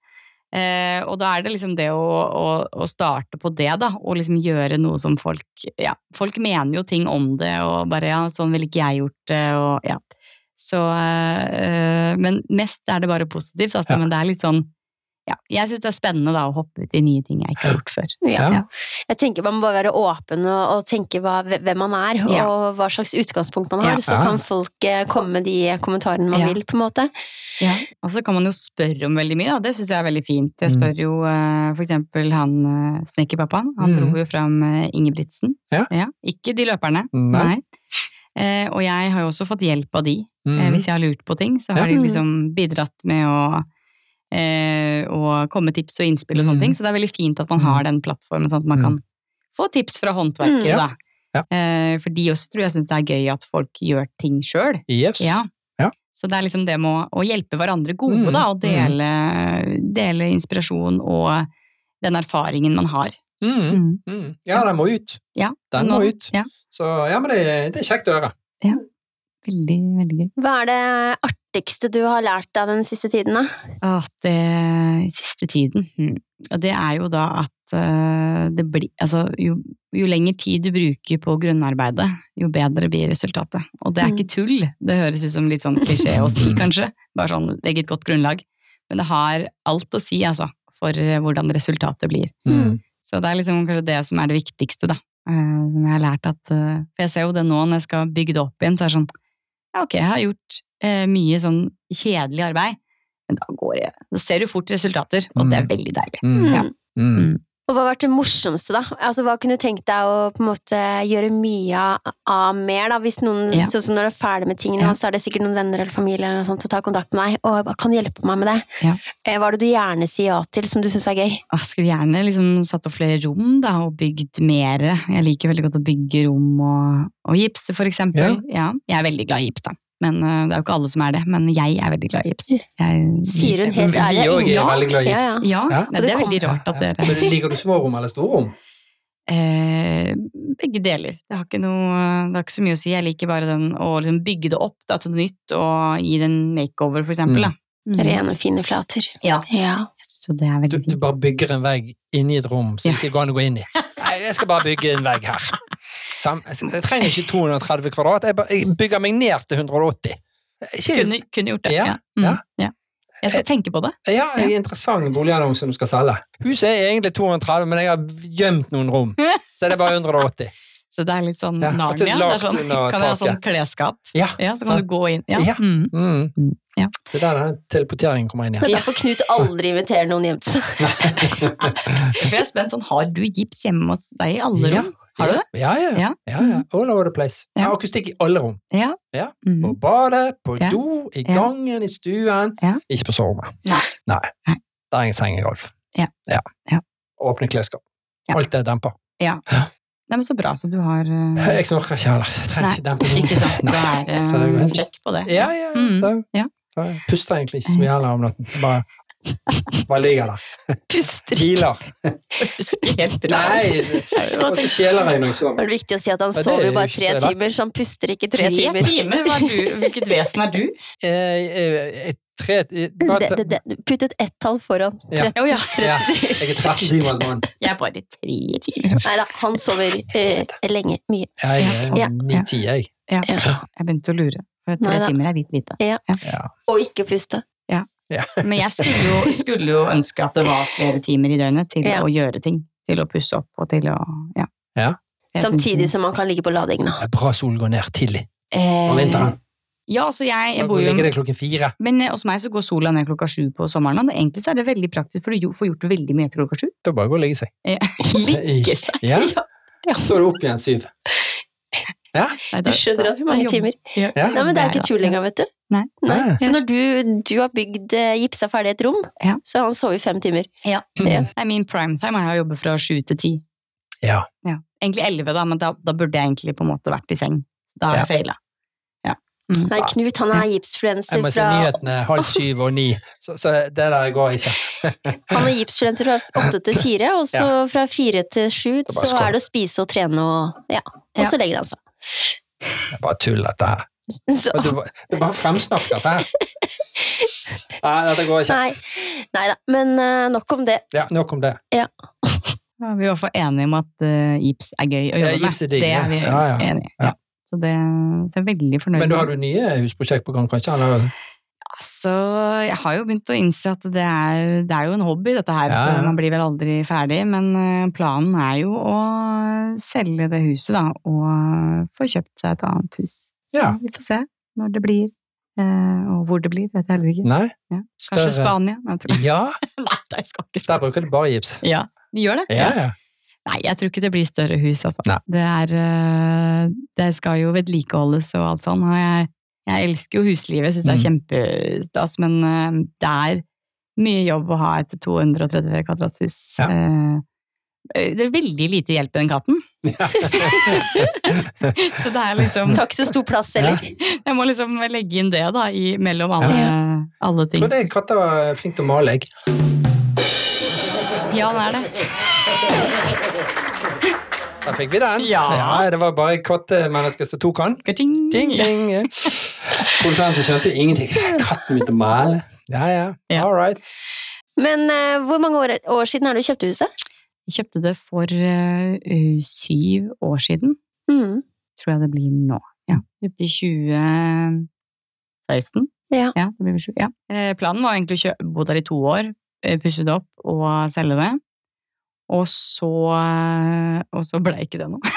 Speaker 3: Eh, og da er det liksom det å, å, å starte på det, da, og liksom gjøre noe som folk Ja, folk mener jo ting om det, og bare ja, sånn ville ikke jeg gjort det, og ja. Så eh, Men mest er det bare positivt, altså.
Speaker 1: Ja.
Speaker 3: Men det er litt sånn Ja, jeg syns det er spennende da å hoppe ut i nye ting jeg ikke har gjort før.
Speaker 2: ja.
Speaker 1: Ja.
Speaker 2: Jeg tenker Man må bare være åpen og, og tenke hva, hvem man er,
Speaker 3: Ja.
Speaker 2: og hva slags utgangspunkt man
Speaker 3: Ja.
Speaker 2: har. Så
Speaker 1: Ja.
Speaker 2: kan folk eh, komme med de kommentarene man
Speaker 3: Ja.
Speaker 2: vil, på en måte.
Speaker 3: Og så kan man jo spørre om veldig mye, da. Det syns jeg er veldig fint. Jeg
Speaker 1: Mm.
Speaker 3: spør jo eh, for eksempel han eh, snekkerpappaen. Han
Speaker 1: Mm.
Speaker 3: dro jo fram eh, Ingebrigtsen.
Speaker 1: Ja.
Speaker 3: Ikke de løperne.
Speaker 1: Nei.
Speaker 3: Nei. Eh, og jeg har jo også fått hjelp av de. Eh,
Speaker 1: Mm.
Speaker 3: hvis jeg har lurt på ting, så har
Speaker 2: Ja.
Speaker 3: de liksom bidratt med å, eh, å komme med tips og innspill og
Speaker 1: Mhm.
Speaker 3: sånne ting. Så det er veldig fint at man har den plattformen, sånn at man
Speaker 1: Mm.
Speaker 3: kan få tips fra håndverkere,
Speaker 2: Mm.
Speaker 1: Ja.
Speaker 3: da.
Speaker 1: Ja.
Speaker 3: Eh, for de også tror jeg syns det er gøy at folk gjør ting sjøl.
Speaker 1: Yes.
Speaker 3: Ja.
Speaker 1: Ja.
Speaker 3: Så det er liksom det med å, å hjelpe hverandre gode,
Speaker 1: Mm.
Speaker 3: da, og dele, dele inspirasjon og den erfaringen man har.
Speaker 1: Mm. Mm. ja, den må ut.
Speaker 3: Ja,
Speaker 1: Den må
Speaker 3: nå-
Speaker 1: ut.
Speaker 3: Ja,
Speaker 1: Så ja, men det, det er kjekt å høre.
Speaker 3: veldig, veldig gøy.
Speaker 2: Hva er det artigste du har lært deg den siste tiden, da?
Speaker 3: Åh, det siste tiden. hm. Og det er jo da at eh, det blir Altså, jo, jo lengre tid du bruker på grunnarbeidet, jo bedre blir resultatet. Og det er
Speaker 2: Mm.
Speaker 3: ikke tull. Det høres ut som litt sånn klisjé å si, kanskje. Bare sånn legge et godt grunnlag. Men det har alt å si, altså, for eh, hvordan resultatet blir.
Speaker 1: Mm.
Speaker 3: Så det er liksom kanskje det som er det viktigste, da. Eh, Som jeg har lært at eh, For jeg ser jo det nå når jeg skal bygge det opp igjen, så er det sånn Ja, ok, jeg har gjort eh, mye sånn kjedelig arbeid, men da går jeg Da ser du fort resultater, og det er
Speaker 1: Mm.
Speaker 3: veldig deilig.
Speaker 1: Mm.
Speaker 2: Mm.
Speaker 3: Ja.
Speaker 1: Mm.
Speaker 2: Og hva har vært det morsomste, da? Altså, Hva kunne du tenkt deg å på en måte gjøre mye av mer, da? Hvis noen,
Speaker 3: Ja.
Speaker 2: sånn som når du er ferdig med tingene,
Speaker 3: Ja.
Speaker 2: og så er det sikkert noen venner eller familie eller noe sånt som tar kontakt med deg og bare kan hjelpe meg med det.
Speaker 3: Ja.
Speaker 2: Eh, Hva er det du gjerne sier ja til, som du syns er gøy?
Speaker 3: Jeg skulle gjerne liksom satt opp flere rom, da, og bygd mer. Jeg liker veldig godt å bygge rom og, og gipse, for eksempel. Ja. Jeg er veldig glad i gips, da. Men eh, det er jo ikke alle som er det. Men jeg er veldig glad i gips. Jeg,
Speaker 2: Sier hun helt
Speaker 1: Vi- vi
Speaker 2: ærlig.
Speaker 1: òg er
Speaker 2: Ja.
Speaker 1: veldig glad i
Speaker 2: Ja,
Speaker 1: gips.
Speaker 2: ja.
Speaker 3: Ja,
Speaker 1: Ja.
Speaker 3: Nei, det er veldig rart at dere
Speaker 1: Men Liker du små rom eller store rom?
Speaker 3: Eh, begge deler. Det har, ikke noe, det har ikke så mye å si. Jeg liker bare den å liksom bygge det opp da, til noe nytt og gi det en makeover, for eksempel. Da.
Speaker 2: Rene, fine flater.
Speaker 3: Ja.
Speaker 2: ja.
Speaker 3: Så det er
Speaker 1: Du,
Speaker 3: veldig
Speaker 1: du
Speaker 3: fint.
Speaker 1: bare bygger en vegg inni et rom som
Speaker 3: Ja.
Speaker 1: ikke går an å gå inn i. Nei, jeg skal bare bygge en vegg her. Sam, jeg trenger ikke 230 kvadrat, jeg, bare, jeg bygger meg ned til 180. Ikke,
Speaker 3: Kunne, kunne gjort det.
Speaker 1: Ja,
Speaker 3: Ja. Mm,
Speaker 1: ja. Eh,
Speaker 3: ja. Jeg skal tenke på det.
Speaker 1: ja, en interessant boligannonse du skal selge. Huset er egentlig 230, men jeg har gjemt noen rom, så det er bare 180.
Speaker 3: Så det er litt sånn
Speaker 1: Ja, at det er
Speaker 3: Narnia. Det er
Speaker 1: lavt
Speaker 3: sånn,
Speaker 1: under
Speaker 3: kan jeg ha sånn
Speaker 1: taket.
Speaker 3: klesskap?
Speaker 1: Ja,
Speaker 3: Ja, så kan
Speaker 1: sant.
Speaker 3: du gå inn. Ja.
Speaker 1: Ja.
Speaker 3: Mm.
Speaker 1: Mm.
Speaker 3: Ja.
Speaker 1: Det er der den teleporteringen kommer inn
Speaker 2: Det
Speaker 1: igjen.
Speaker 2: er derfor Knut aldri inviterer noen hjem til sånn seg.
Speaker 3: For jeg er spent sånn, har du gips hjemme hos deg i alle
Speaker 1: Ja.
Speaker 3: rom? Har du det?
Speaker 1: Ja, ja. ja.
Speaker 3: Ja. Mm.
Speaker 1: ja. All over the place.
Speaker 3: Ja.
Speaker 1: Ja, akustikk i alle rom.
Speaker 3: Ja.
Speaker 1: Ja.
Speaker 3: Mm.
Speaker 1: På badet, på
Speaker 3: Ja.
Speaker 1: do, i
Speaker 3: Ja.
Speaker 1: gangen, i stuen.
Speaker 3: Ja.
Speaker 1: Ikke på soverommet.
Speaker 3: Nei.
Speaker 1: Nei.
Speaker 3: Nei.
Speaker 1: Det er en sengegolf.
Speaker 3: Ja. Ja.
Speaker 1: Åpne klesskap.
Speaker 3: Ja. Mm.
Speaker 1: Alt er dempa.
Speaker 3: Nei, men så bra, så du har eh,
Speaker 1: Jeg orker ikke heller. Jeg trenger ikke den
Speaker 3: Ikke
Speaker 1: personen.
Speaker 3: sant?
Speaker 1: Nei.
Speaker 3: Da er
Speaker 1: Så det går
Speaker 3: det
Speaker 1: helt
Speaker 3: sjekk på det.
Speaker 1: Ja, ja,
Speaker 3: Mm.
Speaker 1: så,
Speaker 3: Ja.
Speaker 1: så jeg puster egentlig ikke så mye heller om natten. Bare, bare ligger der.
Speaker 2: Puster
Speaker 1: Hviler.
Speaker 3: Helt
Speaker 1: Nei! Og så kjeler jeg når jeg
Speaker 2: Det
Speaker 1: sover.
Speaker 2: er det viktig å si at han
Speaker 1: Men det
Speaker 2: sover jo
Speaker 1: er
Speaker 2: bare
Speaker 1: ikke
Speaker 2: tre
Speaker 1: så verdt.
Speaker 2: timer, så han puster ikke tre timer.
Speaker 3: Hva er du? Hvilket vesen er du?
Speaker 1: Eh, eh, eh, tre, eh, bare,
Speaker 2: Det, det, det, putt et ett-tall foran.
Speaker 1: Ja.
Speaker 3: Å ja.
Speaker 1: ja, jeg er 13 timer altså, mann.
Speaker 3: Jeg er bare tre timer.
Speaker 2: Nei da, han sover eh, lenge. Mye.
Speaker 1: Jeg er
Speaker 2: Ja.
Speaker 1: 9-10, jeg.
Speaker 3: Ja.
Speaker 2: Ja.
Speaker 3: Jeg begynte å lure. For tre
Speaker 2: Neida.
Speaker 3: timer er hvit hvite.
Speaker 2: Og ikke puste.
Speaker 3: Men jeg skulle jo, skulle jo ønske at det var flere timer i døgnet til
Speaker 2: Ja.
Speaker 3: å gjøre ting. Til å pusse opp og til å Ja.
Speaker 1: Ja.
Speaker 3: Jeg synes-
Speaker 2: Samtidig som han kan ligge på ladingen. da.
Speaker 1: Det er Bra solen går ned tidlig om
Speaker 3: eh,
Speaker 1: vinteren.
Speaker 3: Ja, altså jeg, jeg
Speaker 1: Nå
Speaker 3: bor jo
Speaker 1: ligger det klokken fire.
Speaker 3: Men eh, hos meg så går sola ned klokka sju på sommeren. Og det- egentlig så er det veldig praktisk, for du jo- får gjort veldig mye etter klokka sju.
Speaker 1: Da bare gå og legge seg.
Speaker 3: Ligge seg!
Speaker 1: Ja.
Speaker 3: Ja.
Speaker 1: Så Står du opp igjen syv.
Speaker 3: Nei,
Speaker 2: Du
Speaker 3: da-
Speaker 2: skjønner at hvor mange
Speaker 3: da
Speaker 2: timer.
Speaker 3: jobber- Ja.
Speaker 1: Ja.
Speaker 2: Nei, men Det er jo ikke tull
Speaker 3: Ja.
Speaker 2: engang, vet du.
Speaker 3: Nei.
Speaker 1: Nei.
Speaker 2: Så når du, du har bygd eh, gipsa ferdig et rom,
Speaker 3: Ja.
Speaker 2: så har han sovet i fem timer.
Speaker 3: Ja. Nei, min primetime er å jobbe fra sju til ti.
Speaker 1: Mhm. Ja.
Speaker 3: Ja. Egentlig elleve, da, men da, da burde jeg egentlig på en måte vært i seng. Da har
Speaker 1: Ja.
Speaker 3: jeg feila.
Speaker 2: Nei, Knut han er gipsfluenser
Speaker 1: Jeg må se
Speaker 2: fra,
Speaker 1: nyhetene halv syv og ni, så, så det der går ikke.
Speaker 2: han er gipsfluenser fra åtte til fire, og så fra fire til sju
Speaker 1: er bare
Speaker 2: så
Speaker 1: skål.
Speaker 2: er det å spise og trene og Ja. Og
Speaker 3: Ja.
Speaker 2: så legger han seg.
Speaker 1: Det er bare tull, dette her.
Speaker 2: Så,
Speaker 1: Og Du, bare- du bare fremsnakker dette her. Nei, dette går ikke.
Speaker 2: nei. nei da. Men eh, nok om det.
Speaker 1: Ja, nok om det.
Speaker 3: Da er vi i hvert fall enige om at eh, gips er gøy å
Speaker 1: Ja,
Speaker 3: jobbe med.
Speaker 1: gips er digg,
Speaker 3: det
Speaker 1: ja.
Speaker 3: er vi
Speaker 1: Ja, ja.
Speaker 3: enige i.
Speaker 1: Ja.
Speaker 3: Ja. Så det så jeg er veldig fornøyd
Speaker 1: Men da
Speaker 3: med.
Speaker 1: har du nye husprosjekt på gang, kanskje? Eller?
Speaker 3: Altså, jeg har jo begynt å innse at det er, det er jo en hobby, dette her,
Speaker 1: Ja, ja.
Speaker 3: så man blir vel aldri ferdig. Men eh, planen er jo å selge det huset, da, og få kjøpt seg et annet hus.
Speaker 1: Ja.
Speaker 3: Vi får se når det blir, eh, og hvor det blir, vet jeg heller ikke.
Speaker 1: Nei?
Speaker 3: Ja. Kanskje Spania? Nei, jeg tror-
Speaker 1: Ja,
Speaker 3: Nei, jeg skal ikke
Speaker 1: der
Speaker 3: Spania.
Speaker 1: bruker du bare gips.
Speaker 3: Ja, vi gjør det.
Speaker 1: Ja, ja.
Speaker 3: Nei, jeg tror ikke det blir større hus, altså.
Speaker 1: Nei.
Speaker 3: Det, er, eh, det skal jo vedlikeholdes og alt sånn. og Jeg, jeg elsker jo huslivet, syns det
Speaker 1: Mm.
Speaker 3: er kjempestas, men eh, det er mye jobb å ha et 230 kvadratshus.
Speaker 1: Ja.
Speaker 3: Eh, Det er veldig lite hjelp i den katten. Så det er liksom
Speaker 2: Takk så stor plass, eller?
Speaker 3: Jeg må liksom legge inn det, da, i, mellom alle, alle ting.
Speaker 1: Tror det katter var flink til å male, jeg.
Speaker 3: Ja, det er det.
Speaker 1: Da fikk vi den.
Speaker 3: Ja.
Speaker 1: det var bare kattemennesker som tok den.
Speaker 3: Ting.
Speaker 1: Ding, ding. ja. Produsenten skjønte jo ingenting. Katten begynte å male. Ja, ja.
Speaker 3: Ja.
Speaker 1: All right.
Speaker 2: Men eh, hvor mange år, år siden er det du kjøpte huset?
Speaker 3: Jeg kjøpte det for eh, syv år siden.
Speaker 2: Mm.
Speaker 3: tror jeg det blir nå. Ja.
Speaker 1: Mm.
Speaker 3: Kjøpte i 2016.
Speaker 2: Ja.
Speaker 3: det blir vel sju. Ja. Eh, Planen var egentlig å kjø- bo der i to år, eh, pusse det opp og selge det. Og så, eh, og så ble ikke det noe. Man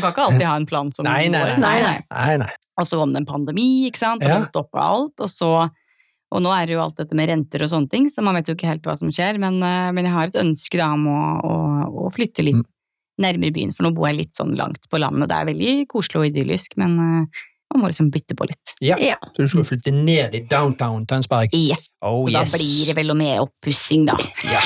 Speaker 3: kan ikke alltid ha en plan som
Speaker 1: Nei, nei,
Speaker 3: går.
Speaker 1: nei. Nei, nei.
Speaker 3: Og så om det en pandemi, ikke sant, og
Speaker 1: Ja.
Speaker 3: den stoppa alt. Og, så, og nå er det jo alt dette med renter og sånne ting, så man vet jo ikke helt hva som skjer. Men, eh, men jeg har et ønske da om å, å, å flytte litt
Speaker 1: Mm.
Speaker 3: nærmere byen, for nå bor jeg litt sånn langt på landet. Det er veldig koselig og idyllisk, men eh, man må liksom bytte på litt.
Speaker 1: Så du skulle flytte ned i downtown Tønsberg?
Speaker 3: Yes.
Speaker 1: Oh,
Speaker 3: Og da
Speaker 1: yes.
Speaker 3: blir det vel noe mer oppussing, da.
Speaker 1: Ja,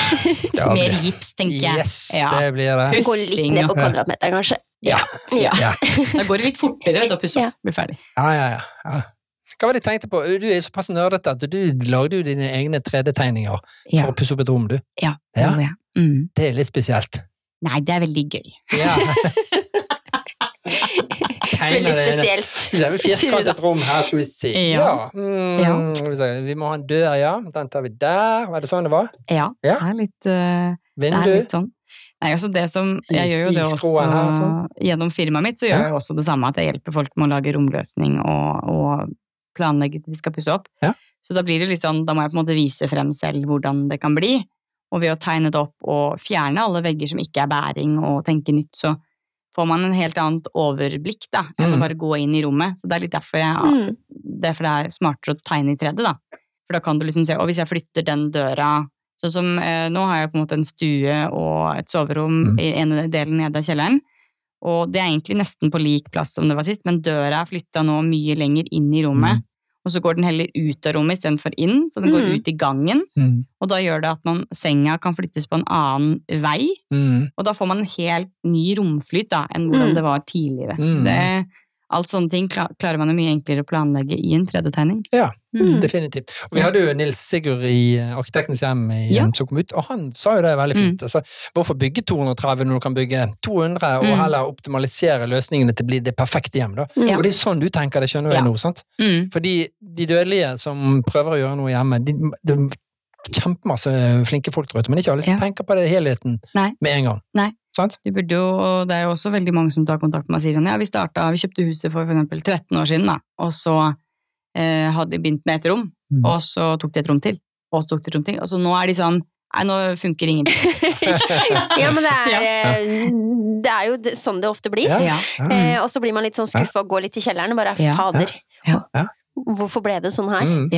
Speaker 1: da
Speaker 3: Mer
Speaker 1: blir det.
Speaker 3: gips, tenker jeg.
Speaker 1: Yes,
Speaker 3: Ja.
Speaker 1: det blir det.
Speaker 2: Gå litt ned på
Speaker 1: Ja.
Speaker 2: kvadratmeteren, kanskje.
Speaker 3: Ja.
Speaker 2: Ja.
Speaker 1: Ja.
Speaker 3: Da går det litt fortere vet du, å pusse
Speaker 2: Ja.
Speaker 3: opp. Bli ferdig.
Speaker 1: Ja, ja, ja, ja. Hva var det jeg tenkte på? Du er såpass nerdete at du lagde jo dine egne 3D-tegninger
Speaker 3: Ja.
Speaker 1: for å pusse opp et rom, du.
Speaker 3: Ja.
Speaker 1: Ja.
Speaker 3: det må jeg. Mm.
Speaker 1: Det er litt spesielt.
Speaker 3: Nei, det er veldig gøy.
Speaker 1: Ja. Tegner det
Speaker 2: Veldig
Speaker 1: inn.
Speaker 2: spesielt.
Speaker 1: Det er vel
Speaker 2: Sier du da.
Speaker 1: firkantet rom her, skal vi se.
Speaker 3: Ja.
Speaker 1: Mm,
Speaker 3: Ja.
Speaker 1: skal vi se. Vi må ha en dør, ja. Den tar vi der. Var det sånn det var?
Speaker 3: Ja.
Speaker 1: Ja.
Speaker 3: Det er litt eh, Det er
Speaker 1: Vindu.
Speaker 3: litt sånn. Nei, altså det som, jeg gjør jo det også
Speaker 1: Stigskroen her, sånn.
Speaker 3: Gjennom firmaet mitt så
Speaker 1: Ja.
Speaker 3: gjør jeg jo også det samme, at jeg hjelper folk med å lage romløsning og, og planlegge det de skal pusse opp.
Speaker 1: Ja.
Speaker 3: Så da blir det litt sånn, da må jeg på en måte vise frem selv hvordan det kan bli. Og ved å tegne det opp og fjerne alle vegger som ikke er bæring og tenke nytt, så får man en helt annet overblikk da, enn
Speaker 1: Mm.
Speaker 3: å bare gå inn i rommet. Så det er litt derfor jeg
Speaker 2: Mm.
Speaker 3: derfor det er smartere å tegne i 3D, da. For da kan du liksom se, og hvis jeg flytter den døra Sånn som eh, nå har jeg på en måte en stue og et soverom
Speaker 1: Mm.
Speaker 3: i ene delen nede av kjelleren. Og det er egentlig nesten på lik plass som det var sist, men døra er flytta nå mye lenger inn i rommet. Og så går den heller ut av rommet istedenfor inn, så den går
Speaker 2: Mm.
Speaker 3: ut i gangen.
Speaker 1: Mm.
Speaker 3: Og da gjør det at man, senga kan flyttes på en annen vei,
Speaker 1: Mm.
Speaker 3: og da får man en helt ny romflyt da, enn hvordan
Speaker 2: Mm.
Speaker 3: det var tidligere.
Speaker 1: Mm.
Speaker 3: Det, alt sånne ting kla- klarer man jo mye enklere å planlegge i en 3D-tegning.
Speaker 1: Ja.
Speaker 2: Mm.
Speaker 1: Definitivt. Og vi hadde jo Nils Sigurd i eh, Arkitektens hjem i, eh,
Speaker 3: Ja. Mm.
Speaker 1: som kom ut, og han sa jo det veldig fint. Altså, hvorfor bygge 230 når du kan bygge 200, og
Speaker 3: Mm.
Speaker 1: heller optimalisere løsningene til å bli det perfekte hjem, da?
Speaker 2: Ja.
Speaker 1: Og det er sånn du tenker, det skjønner jeg
Speaker 3: Ja.
Speaker 1: nå, sant?
Speaker 3: Mm.
Speaker 1: Fordi de dødelige som prøver å gjøre noe hjemme, de, det er kjempemasse flinke folk der ute, men ikke alle som
Speaker 3: Ja.
Speaker 1: tenker på det helheten
Speaker 3: Nei.
Speaker 1: med en gang.
Speaker 3: Nei.
Speaker 1: Sant?
Speaker 3: Du burde jo, og det er jo også veldig mange som tar kontakt med meg og sier sånn, ja, vi startet, vi kjøpte huset for for eksempel 13 år siden da, og så eh, hadde vi begynt med et rom,
Speaker 1: Mm.
Speaker 3: og så tok de et rom til, og så tok de et rom til, og så nå er de sånn, nei, nå funker ingenting.
Speaker 2: ja, men det
Speaker 3: Ja.
Speaker 2: er, eh, det er jo det- sånn det ofte blir.
Speaker 1: Ja.
Speaker 3: Ja.
Speaker 1: Ja.
Speaker 2: Eh, og så blir man litt sånn skuffa og går litt i kjelleren og bare
Speaker 3: Ja.
Speaker 2: fader.
Speaker 3: Ja.
Speaker 1: Ja.
Speaker 2: Hvorfor ble det sånn her?
Speaker 1: Mm.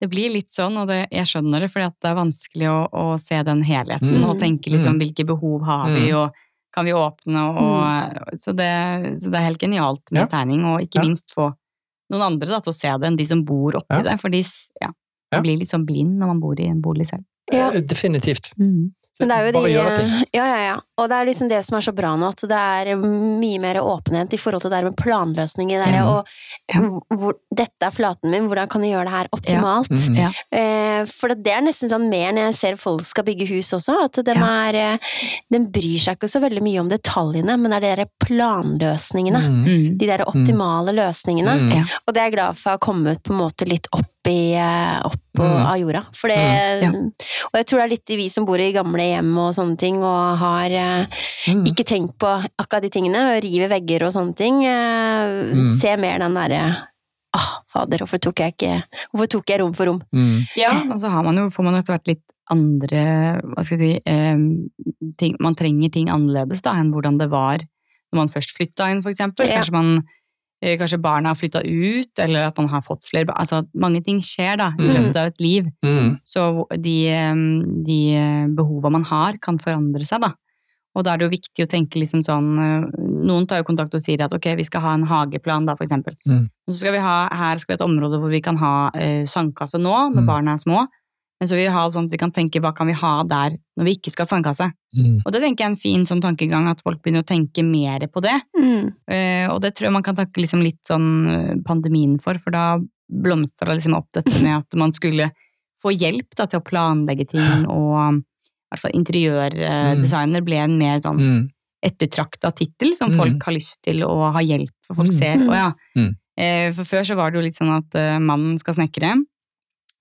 Speaker 3: Det blir litt sånn, og det, jeg skjønner det, fordi at det er vanskelig å, å se den helheten,
Speaker 2: Mm.
Speaker 3: og tenke liksom, hvilke behov har vi,
Speaker 1: Mm.
Speaker 3: og kan vi åpne, og, og, så, det, så det er helt genialt med
Speaker 1: Ja.
Speaker 3: tegning, og ikke
Speaker 1: Ja.
Speaker 3: minst få noen andre da, til å se det, enn de som bor oppi
Speaker 1: Ja.
Speaker 3: det, for de s- ja,
Speaker 1: Ja.
Speaker 3: man blir litt sånn blind når man bor i en bolig selv.
Speaker 2: Ja.
Speaker 1: Eh, Definitivt.
Speaker 2: Men det er jo
Speaker 1: Bare
Speaker 2: de, eh,
Speaker 1: gjøre ting.
Speaker 2: Ja, ja, ja. Og det er liksom det som er så bra nå, at det er mm, mye mer åpenhet i forhold til det der med planløsninger. Der,
Speaker 1: Ja.
Speaker 2: og
Speaker 3: Ja.
Speaker 2: hvor, dette er flaten min, hvordan kan jeg gjøre det her optimalt?
Speaker 1: Mm.
Speaker 3: Ja.
Speaker 2: Eh, for det er nesten sånn mer når jeg ser folk skal bygge hus også, at de, er, eh, de bryr seg ikke så veldig mye om detaljene, men det er de der planløsningene.
Speaker 1: Mm.
Speaker 2: De der optimale løsningene.
Speaker 1: Mm.
Speaker 3: Ja.
Speaker 2: Og det er jeg glad for har kommet på en måte litt opp, i, eh, opp og-
Speaker 1: Mm.
Speaker 2: av jorda. For det,
Speaker 3: ja.
Speaker 2: Og jeg tror det er litt vi som bor i gamle hjem og sånne ting, og har eh,
Speaker 1: Mm.
Speaker 2: ikke tenkt på akkurat de tingene, og river vegger og sånne ting, eh,
Speaker 1: Mm.
Speaker 2: se mer den derre Ah, fader, hvorfor tok jeg ikke Hvorfor tok jeg rom for rom?
Speaker 1: Mm.
Speaker 3: Og så har man jo, får man jo etter hvert litt andre, hva skal jeg si, eh, ting, man trenger ting annerledes da, enn hvordan det var når man først flytta inn, for eksempel.
Speaker 2: Ja.
Speaker 3: Kanskje, man, eh, kanskje barna har flytta ut, eller at man har fått flere barn. Altså, mange ting skjer da, i
Speaker 1: Mm.
Speaker 3: løpet av et liv.
Speaker 1: Mm.
Speaker 3: Så de, eh, de eh, behova man har, kan forandre seg da. Og da er det jo viktig å tenke liksom sånn eh, Noen tar jo kontakt og sier at ok, vi skal ha en hageplan, da, for eksempel.
Speaker 1: Mm.
Speaker 3: Så skal vi ha, her skal vi ha et område hvor vi kan ha eh, sandkasse nå, når
Speaker 1: Mm.
Speaker 3: barna er små. Men så vil vi ha sånn at vi kan tenke hva kan vi ha der når vi ikke skal ha sandkasse.
Speaker 1: Mm.
Speaker 3: Og det tenker jeg er en fin sånn tankegang, at folk begynner å tenke mer på det.
Speaker 2: Mm.
Speaker 3: Eh, og det tror jeg man kan takke liksom litt sånn eh, pandemien for, for da blomstra det liksom opp dette med at man skulle få hjelp da, til å planlegge ting, og i hvert fall interiørdesigner ble en mer sånn
Speaker 1: Mm.
Speaker 3: ettertrakta tittel som
Speaker 1: Mm.
Speaker 3: folk har lyst til å ha hjelp for. Folk
Speaker 1: Mm.
Speaker 3: ser
Speaker 2: Mm.
Speaker 3: å ja.
Speaker 1: Mm.
Speaker 3: Eh, For før så var det jo litt sånn at eh, mannen skal snekre,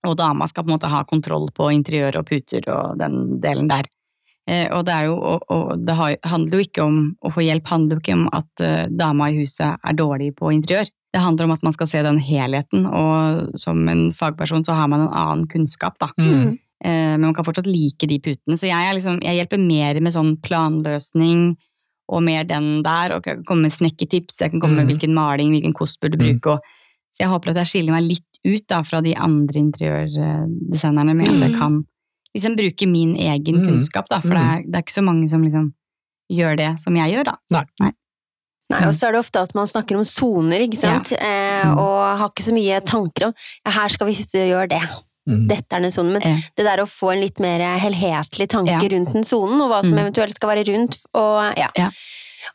Speaker 3: og dama skal på en måte ha kontroll på interiør og puter og den delen der. Eh, Og det, er jo, og, og det har- handler jo ikke om å få hjelp, handler jo ikke om at eh, dama i huset er dårlig på interiør. Det handler om at man skal se den helheten, og som en fagperson så har man en annen kunnskap, da.
Speaker 1: Mm.
Speaker 3: Eh, men man kan fortsatt like de putene. Så jeg, er liksom, jeg hjelper mer med sånn planløsning og mer den der, og kan komme med snekkertips, jeg kan komme
Speaker 1: Mm.
Speaker 3: med hvilken maling, hvilken kost burde du
Speaker 1: Mm.
Speaker 3: bruke. Og, så jeg håper at jeg skiller meg litt ut da, fra de andre interiørdesignerne med at jeg
Speaker 2: Mm.
Speaker 3: kan liksom bruke min egen
Speaker 1: Mm.
Speaker 3: kunnskap, da, for det, er, det er ikke så mange som liksom gjør det som jeg gjør, da.
Speaker 2: Nei, og så er det ofte at man snakker om soner, ikke sant? Eh, og har ikke så mye tanker om ja, her skal vi sitte og gjøre det.
Speaker 1: Mm.
Speaker 2: Dette er den sonen. Men
Speaker 3: Ja.
Speaker 2: det der å få en litt mer helhetlig tanke
Speaker 3: Ja.
Speaker 2: rundt den sonen, og hva som
Speaker 3: Mm.
Speaker 2: eventuelt skal være rundt, og ja.
Speaker 3: Ja.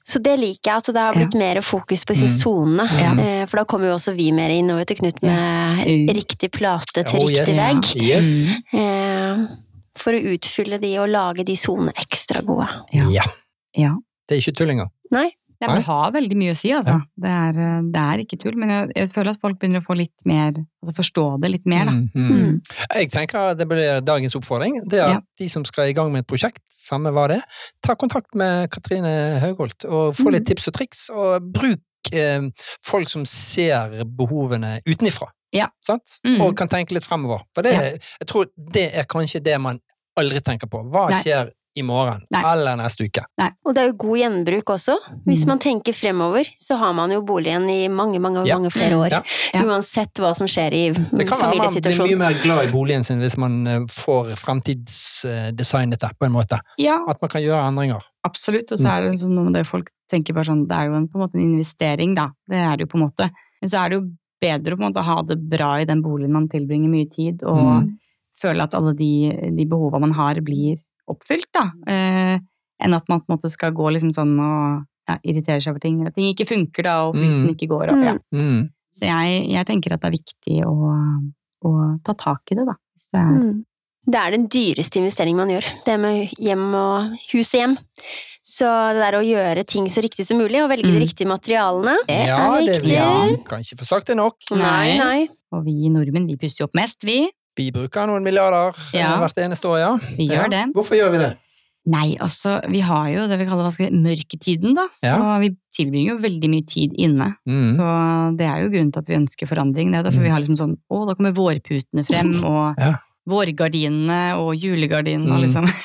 Speaker 2: Så det liker jeg, at det har blitt mer fokus på disse
Speaker 1: Mm.
Speaker 2: sonene.
Speaker 1: Ja.
Speaker 2: Eh, For da kommer jo også vi mer inn, og vet du, Knut, med
Speaker 3: Mm.
Speaker 2: riktig plate til
Speaker 1: Oh,
Speaker 2: riktig
Speaker 1: yes.
Speaker 2: vegg.
Speaker 1: Yes.
Speaker 2: Eh, For å utfylle de og lage de sonene ekstra gode.
Speaker 3: Mm.
Speaker 1: Ja.
Speaker 3: Ja. Ja.
Speaker 1: Det er ikke tull engang.
Speaker 3: Ja, men
Speaker 1: Nei.
Speaker 3: det har veldig mye å si, altså. Det, er, eh, det er ikke tull, men jeg, jeg føler at folk begynner å få litt mer, altså forstå det litt mer, da.
Speaker 1: Mm. Mm.
Speaker 2: Mm.
Speaker 1: Jeg tenker det blir dagens oppfordring. Det er at de som skal i gang med et prosjekt, samme hva det er, ta kontakt med Katrine Høgholt og få
Speaker 3: Mhm.
Speaker 1: litt tips og triks, og bruk eh, folk som ser behovene utenifra.
Speaker 3: Ja.
Speaker 1: Sant?
Speaker 3: Mm.
Speaker 1: Og kan tenke litt fremover. For det, jeg tror det er kanskje det man aldri tenker på. Hva
Speaker 3: Nei.
Speaker 1: skjer i morgen?
Speaker 3: Nei.
Speaker 1: Eller neste uke?
Speaker 2: Og det er jo god gjenbruk også. Hvis
Speaker 3: Mm.
Speaker 2: man tenker fremover, så har man jo boligen i mange, mange,
Speaker 1: Ja.
Speaker 2: mange flere år.
Speaker 1: Ja.
Speaker 3: Ja.
Speaker 2: Uansett hva som skjer i
Speaker 3: Mm.
Speaker 1: Det kan være man blir mye
Speaker 2: familiesituasjonen.
Speaker 1: mer glad i boligen sin hvis man eh, får fremtidsdesignet det, på en måte.
Speaker 3: Ja,
Speaker 1: At man kan gjøre endringer.
Speaker 3: Absolutt, og så
Speaker 1: Mm.
Speaker 3: er det sånn noe med det folk tenker bare sånn, det er jo en, på en måte en investering da, det er det jo på en måte. Men så er det jo bedre på en måte, å ha det bra i den boligen man tilbringer mye tid, og
Speaker 1: Mm.
Speaker 3: føle at alle de, de behova man har, blir oppfylt, da. Eh, enn at man på en måte skal gå liksom sånn og ja, irritere seg over ting. At ting ikke funker, da, og flyten
Speaker 1: Mm.
Speaker 3: ikke går opp. Ja.
Speaker 1: Mm.
Speaker 3: Så jeg, jeg tenker at det er viktig å, å ta tak i det, da. Hvis det er
Speaker 2: Mm. Det er den dyreste investeringen man gjør, det med hjem og hus og hjem. Så det der å gjøre ting så riktig som mulig, og velge
Speaker 3: Mm.
Speaker 2: de riktige materialene, det
Speaker 1: ja,
Speaker 2: er
Speaker 1: det
Speaker 2: viktig.
Speaker 1: ja, kan ikke få sagt det nok.
Speaker 2: Nei,
Speaker 3: Nei.
Speaker 2: nei.
Speaker 3: Og vi nordmenn, vi pusser jo opp mest, vi.
Speaker 1: Vi bruker noen milliarder eh,
Speaker 3: Ja.
Speaker 1: hvert eneste år, ja.
Speaker 3: Vi gjør
Speaker 1: ja.
Speaker 3: det.
Speaker 1: Hvorfor gjør vi det?
Speaker 3: Nei, altså, vi har jo det vi kaller hva skal jeg si, mørketiden, da. Så
Speaker 1: Ja.
Speaker 3: vi tilbringer jo veldig mye tid inne.
Speaker 1: Mm.
Speaker 3: Så det er jo grunnen til at vi ønsker forandring. Det er jo derfor
Speaker 1: Mm.
Speaker 3: vi har liksom sånn Å, da kommer vårputene frem, og
Speaker 1: Ja.
Speaker 3: vårgardinene og julegardinene og
Speaker 1: Mm.
Speaker 3: liksom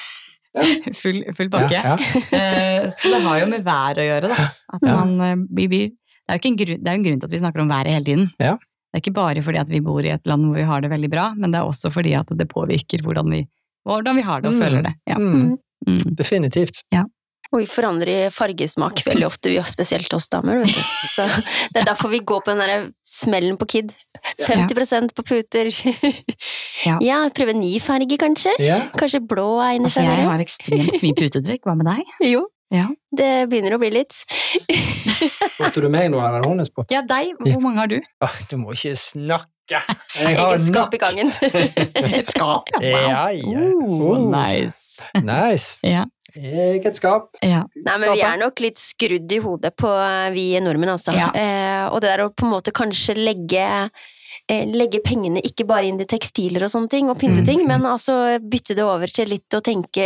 Speaker 3: Full, full pakke.
Speaker 1: Ja, ja.
Speaker 3: Eh, Så det har jo med været å gjøre, da. At
Speaker 1: Ja.
Speaker 3: man eh, blir, blir det, er jo ikke en grunn, det er jo en grunn til at vi snakker om været hele tiden.
Speaker 1: Ja.
Speaker 3: Det er ikke bare fordi at vi bor i et land hvor vi har det veldig bra, men det er også fordi at det påvirker hvordan vi, hvordan vi har det og
Speaker 1: Mm.
Speaker 3: føler det. Ja.
Speaker 1: Mm.
Speaker 3: Mm.
Speaker 1: Definitivt.
Speaker 2: Og vi forandrer fargesmak veldig ofte, vi, spesielt oss damer. Vet du. Så det er derfor vi går på den der smellen på Kid. 50 på puter.
Speaker 3: Ja.
Speaker 2: Ja, prøve ny farge, kanskje.
Speaker 1: Ja.
Speaker 2: Kanskje blå egner
Speaker 3: Altså,
Speaker 2: seg
Speaker 3: jeg
Speaker 2: bedre.
Speaker 3: har ekstremt mye putetrekk. Hva med deg?
Speaker 2: Jo,
Speaker 3: Ja.
Speaker 2: det begynner å bli litt.
Speaker 1: Spurte du meg nå, eller hun jeg spurte?
Speaker 3: ja, deg. Hvor mange har du?
Speaker 1: Ah, du må ikke snakke! Jeg har
Speaker 2: Eget eh, skap
Speaker 1: nok!
Speaker 2: i gangen.
Speaker 3: Et skap,
Speaker 1: Ja, ja.
Speaker 3: Oh,
Speaker 1: Oh.
Speaker 3: nice.
Speaker 1: Nice.
Speaker 3: Ja.
Speaker 1: Eget skap.
Speaker 3: Ja.
Speaker 2: Nei, men vi er nok litt skrudd i hodet på eh, vi nordmenn, altså.
Speaker 3: Ja.
Speaker 2: Eh, og det der å på en måte kanskje legge eh, Legge pengene ikke bare inn i tekstiler og sånne ting, og pynte
Speaker 1: Mm.
Speaker 2: ting, men altså bytte det over til litt å tenke,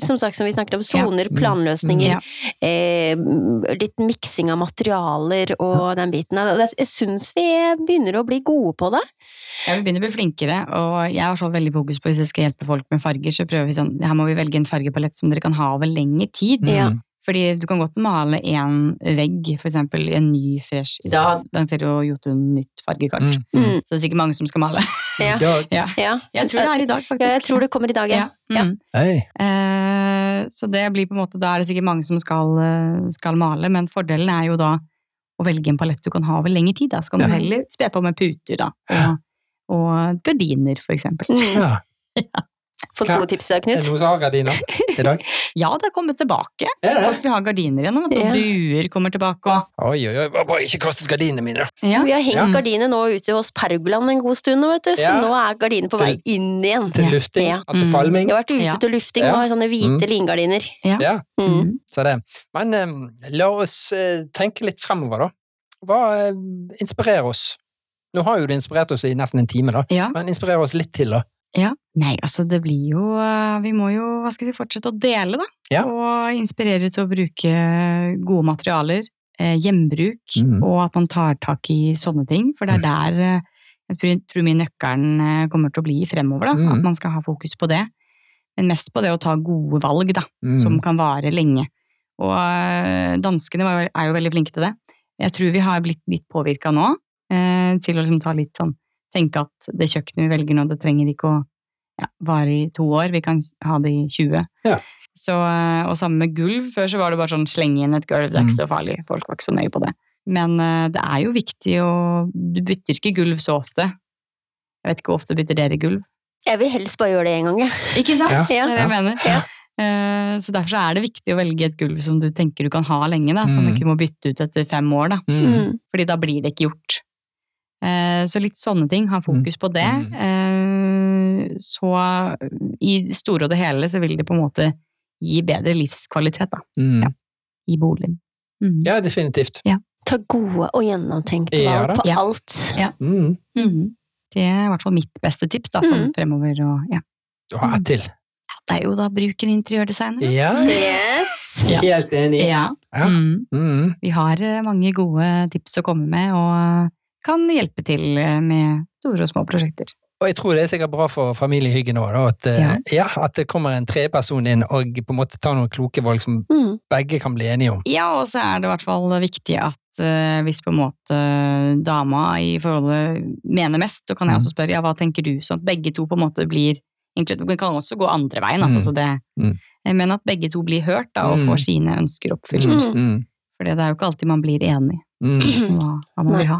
Speaker 2: som sagt som vi snakket om, soner,
Speaker 1: Mm.
Speaker 2: planløsninger,
Speaker 3: Ja.
Speaker 2: eh, litt miksing av materialer og den biten. Og det- jeg syns vi begynner å bli gode på det.
Speaker 3: Jeg vil begynne å bli flinkere, og jeg har så veldig fokus på hvis jeg skal hjelpe folk med farger, så prøver vi sånn, her må vi velge en fargepalett som dere kan ha over lengre
Speaker 1: Mm.
Speaker 3: tid.
Speaker 2: Ja.
Speaker 3: Fordi du kan godt male en vegg, for eksempel i en ny, fresh I dag lanserer jo Jotun nytt fargekart,
Speaker 1: Mm. Mm.
Speaker 2: Mm.
Speaker 3: så det er sikkert mange som skal male.
Speaker 1: I
Speaker 2: Ja.
Speaker 1: dag.
Speaker 3: Ja.
Speaker 2: Ja.
Speaker 3: Jeg tror det er i dag, faktisk.
Speaker 2: ja, jeg tror det kommer i dag, ja.
Speaker 3: Ja. Mm.
Speaker 1: Hei.
Speaker 3: Eh, Så det blir på en måte, da er det sikkert mange som skal, eh, skal male, men fordelen er jo da å velge en palett du kan ha over lengre tid, da. Så kan du
Speaker 2: Ja.
Speaker 3: heller spe på med puter, da. Og, og gardiner, for eksempel.
Speaker 2: Mm.
Speaker 1: Ja.
Speaker 2: Fått
Speaker 1: Hva-
Speaker 2: gode tips i
Speaker 1: Er
Speaker 2: dag,
Speaker 1: det
Speaker 2: Knut.
Speaker 1: noen som har gardiner i dag?
Speaker 3: Ja, det har kommet tilbake.
Speaker 1: Er det?
Speaker 3: At vi har gardiner igjennom, at
Speaker 2: Ja.
Speaker 3: noen buer kommer tilbake og
Speaker 1: Oi, oi, oi, bare ikke kastet gardinene mine.
Speaker 2: Vi har hengt
Speaker 1: Ja.
Speaker 2: gardiner nå ute hos Pergoland en god stund, nå, vet du, så
Speaker 1: Ja.
Speaker 2: nå er gardinene på vei inn igjen.
Speaker 1: Til
Speaker 3: Ja.
Speaker 1: lufting.
Speaker 2: Ja.
Speaker 1: At det
Speaker 3: Mm.
Speaker 1: falming.
Speaker 2: Jeg har vært ute
Speaker 3: Ja.
Speaker 2: til lufting
Speaker 1: Ja. Mm.
Speaker 2: og har sånne hvite lingardiner.
Speaker 1: Ja,
Speaker 2: Mm.
Speaker 1: så det. Men eh, la oss eh, tenke litt fremover, da. Hva eh, inspirerer oss? Nå har jo du inspirert oss i nesten en time, da.
Speaker 3: Ja.
Speaker 1: Men inspirer oss litt til, da.
Speaker 3: ja. Nei, altså det blir jo eh, Vi må jo hva skal jeg si, fortsette å dele, da.
Speaker 1: Ja.
Speaker 3: Og inspirere til å bruke gode materialer. eh, Gjenbruk.
Speaker 1: Mm.
Speaker 3: Og at man tar tak i sånne ting. For det er der eh, jeg tror- tror mye nøkkelen eh, kommer til å bli fremover. da,
Speaker 1: Mm.
Speaker 3: At man skal ha fokus på det. Men mest på det å ta gode valg, da.
Speaker 1: Mm.
Speaker 3: som kan vare lenge. Og øh, danskene var jo- er jo veldig flinke til det. Jeg tror vi har blitt litt påvirka nå eh, til å liksom ta litt sånn Tenke at det kjøkkenet vi velger nå, det trenger ikke å ja, vare i to år, vi kan ha det i 20.
Speaker 1: Ja.
Speaker 3: Så, øh, og sammen med gulv, før så var det bare sånn slenge inn et gulv, det er
Speaker 1: Mm.
Speaker 3: ikke så farlig, folk var ikke så nøye på det. Men øh, det er jo viktig å Du bytter ikke gulv så ofte. Jeg vet ikke hvor ofte bytter dere gulv?
Speaker 2: Jeg vil helst bare gjøre det én gang, jeg.
Speaker 3: Ikke sant?
Speaker 1: Ja,
Speaker 3: Det er det jeg mener.
Speaker 2: ja.
Speaker 3: Eh, Så derfor så er det viktig å velge et gulv som du tenker du kan ha lenge, da, som du
Speaker 1: Mm.
Speaker 3: ikke må bytte ut etter fem år, da.
Speaker 1: Mm.
Speaker 2: Mm.
Speaker 3: Fordi da blir det ikke gjort. Eh, Så litt sånne ting, ha fokus på det.
Speaker 1: Mm.
Speaker 3: Eh, Så i det store og det hele så vil det på en måte gi bedre livskvalitet, da,
Speaker 1: Mm.
Speaker 3: Ja. i boligen. Mm.
Speaker 1: Ja, definitivt.
Speaker 2: Ta gode og gjennomtenkte
Speaker 1: Ja,
Speaker 2: valg
Speaker 1: da.
Speaker 2: på
Speaker 3: Ja.
Speaker 2: alt.
Speaker 1: Mm.
Speaker 3: Mm. Det er i hvert fall mitt beste tips, da, sånn
Speaker 2: Mm.
Speaker 3: fremover og ja.
Speaker 1: Du har ett
Speaker 3: Mm.
Speaker 1: til.
Speaker 3: Det er jo da bruk en interiørdesigner.
Speaker 1: Ja,
Speaker 2: Yes!
Speaker 3: Ja.
Speaker 1: helt enig.
Speaker 3: da. Ja.
Speaker 1: Ja.
Speaker 3: Mm.
Speaker 1: Mm.
Speaker 3: Vi har eh, mange gode tips å komme med, og kan hjelpe til eh, med store og små prosjekter.
Speaker 1: Og jeg tror det er sikkert bra for familiehyggen òg, at, eh,
Speaker 3: Ja.
Speaker 1: ja, at det kommer en tredjeperson inn og på en måte tar noen kloke valg som
Speaker 2: Mm.
Speaker 1: begge kan bli enige om.
Speaker 3: Ja, og så er det i hvert fall viktig at eh, hvis på en måte dama i forholdet mener mest, så
Speaker 4: Mm.
Speaker 3: kan jeg også spørre ja, hva tenker du, sånn at begge to på en måte blir inkludert. Vi kan også gå andre veien, altså,
Speaker 1: Mm.
Speaker 3: så det,
Speaker 1: Mm.
Speaker 3: eh, men at begge to blir hørt da, og
Speaker 1: Mm.
Speaker 3: får sine ønsker oppfylt.
Speaker 1: Mm. Mm.
Speaker 3: For det er jo ikke alltid man blir enig
Speaker 1: Mm.
Speaker 3: om hva, hva man
Speaker 2: Nei.
Speaker 3: vil ha.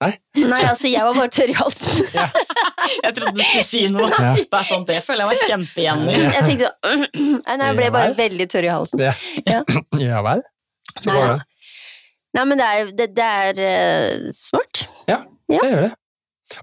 Speaker 2: Nei, altså, jeg var bare tørr i halsen.
Speaker 4: Jeg trodde du skulle si noe.
Speaker 1: Ja.
Speaker 4: Bare sånn, det føler jeg meg kjempe igjen i.
Speaker 2: Jeg tenkte sånn Nei, nei, jeg ble bare veldig tørr i halsen.
Speaker 1: Ja vel. Så bra, da.
Speaker 2: Nei, men det er, det, det er eh, smart. Ja.
Speaker 1: Det er jo det.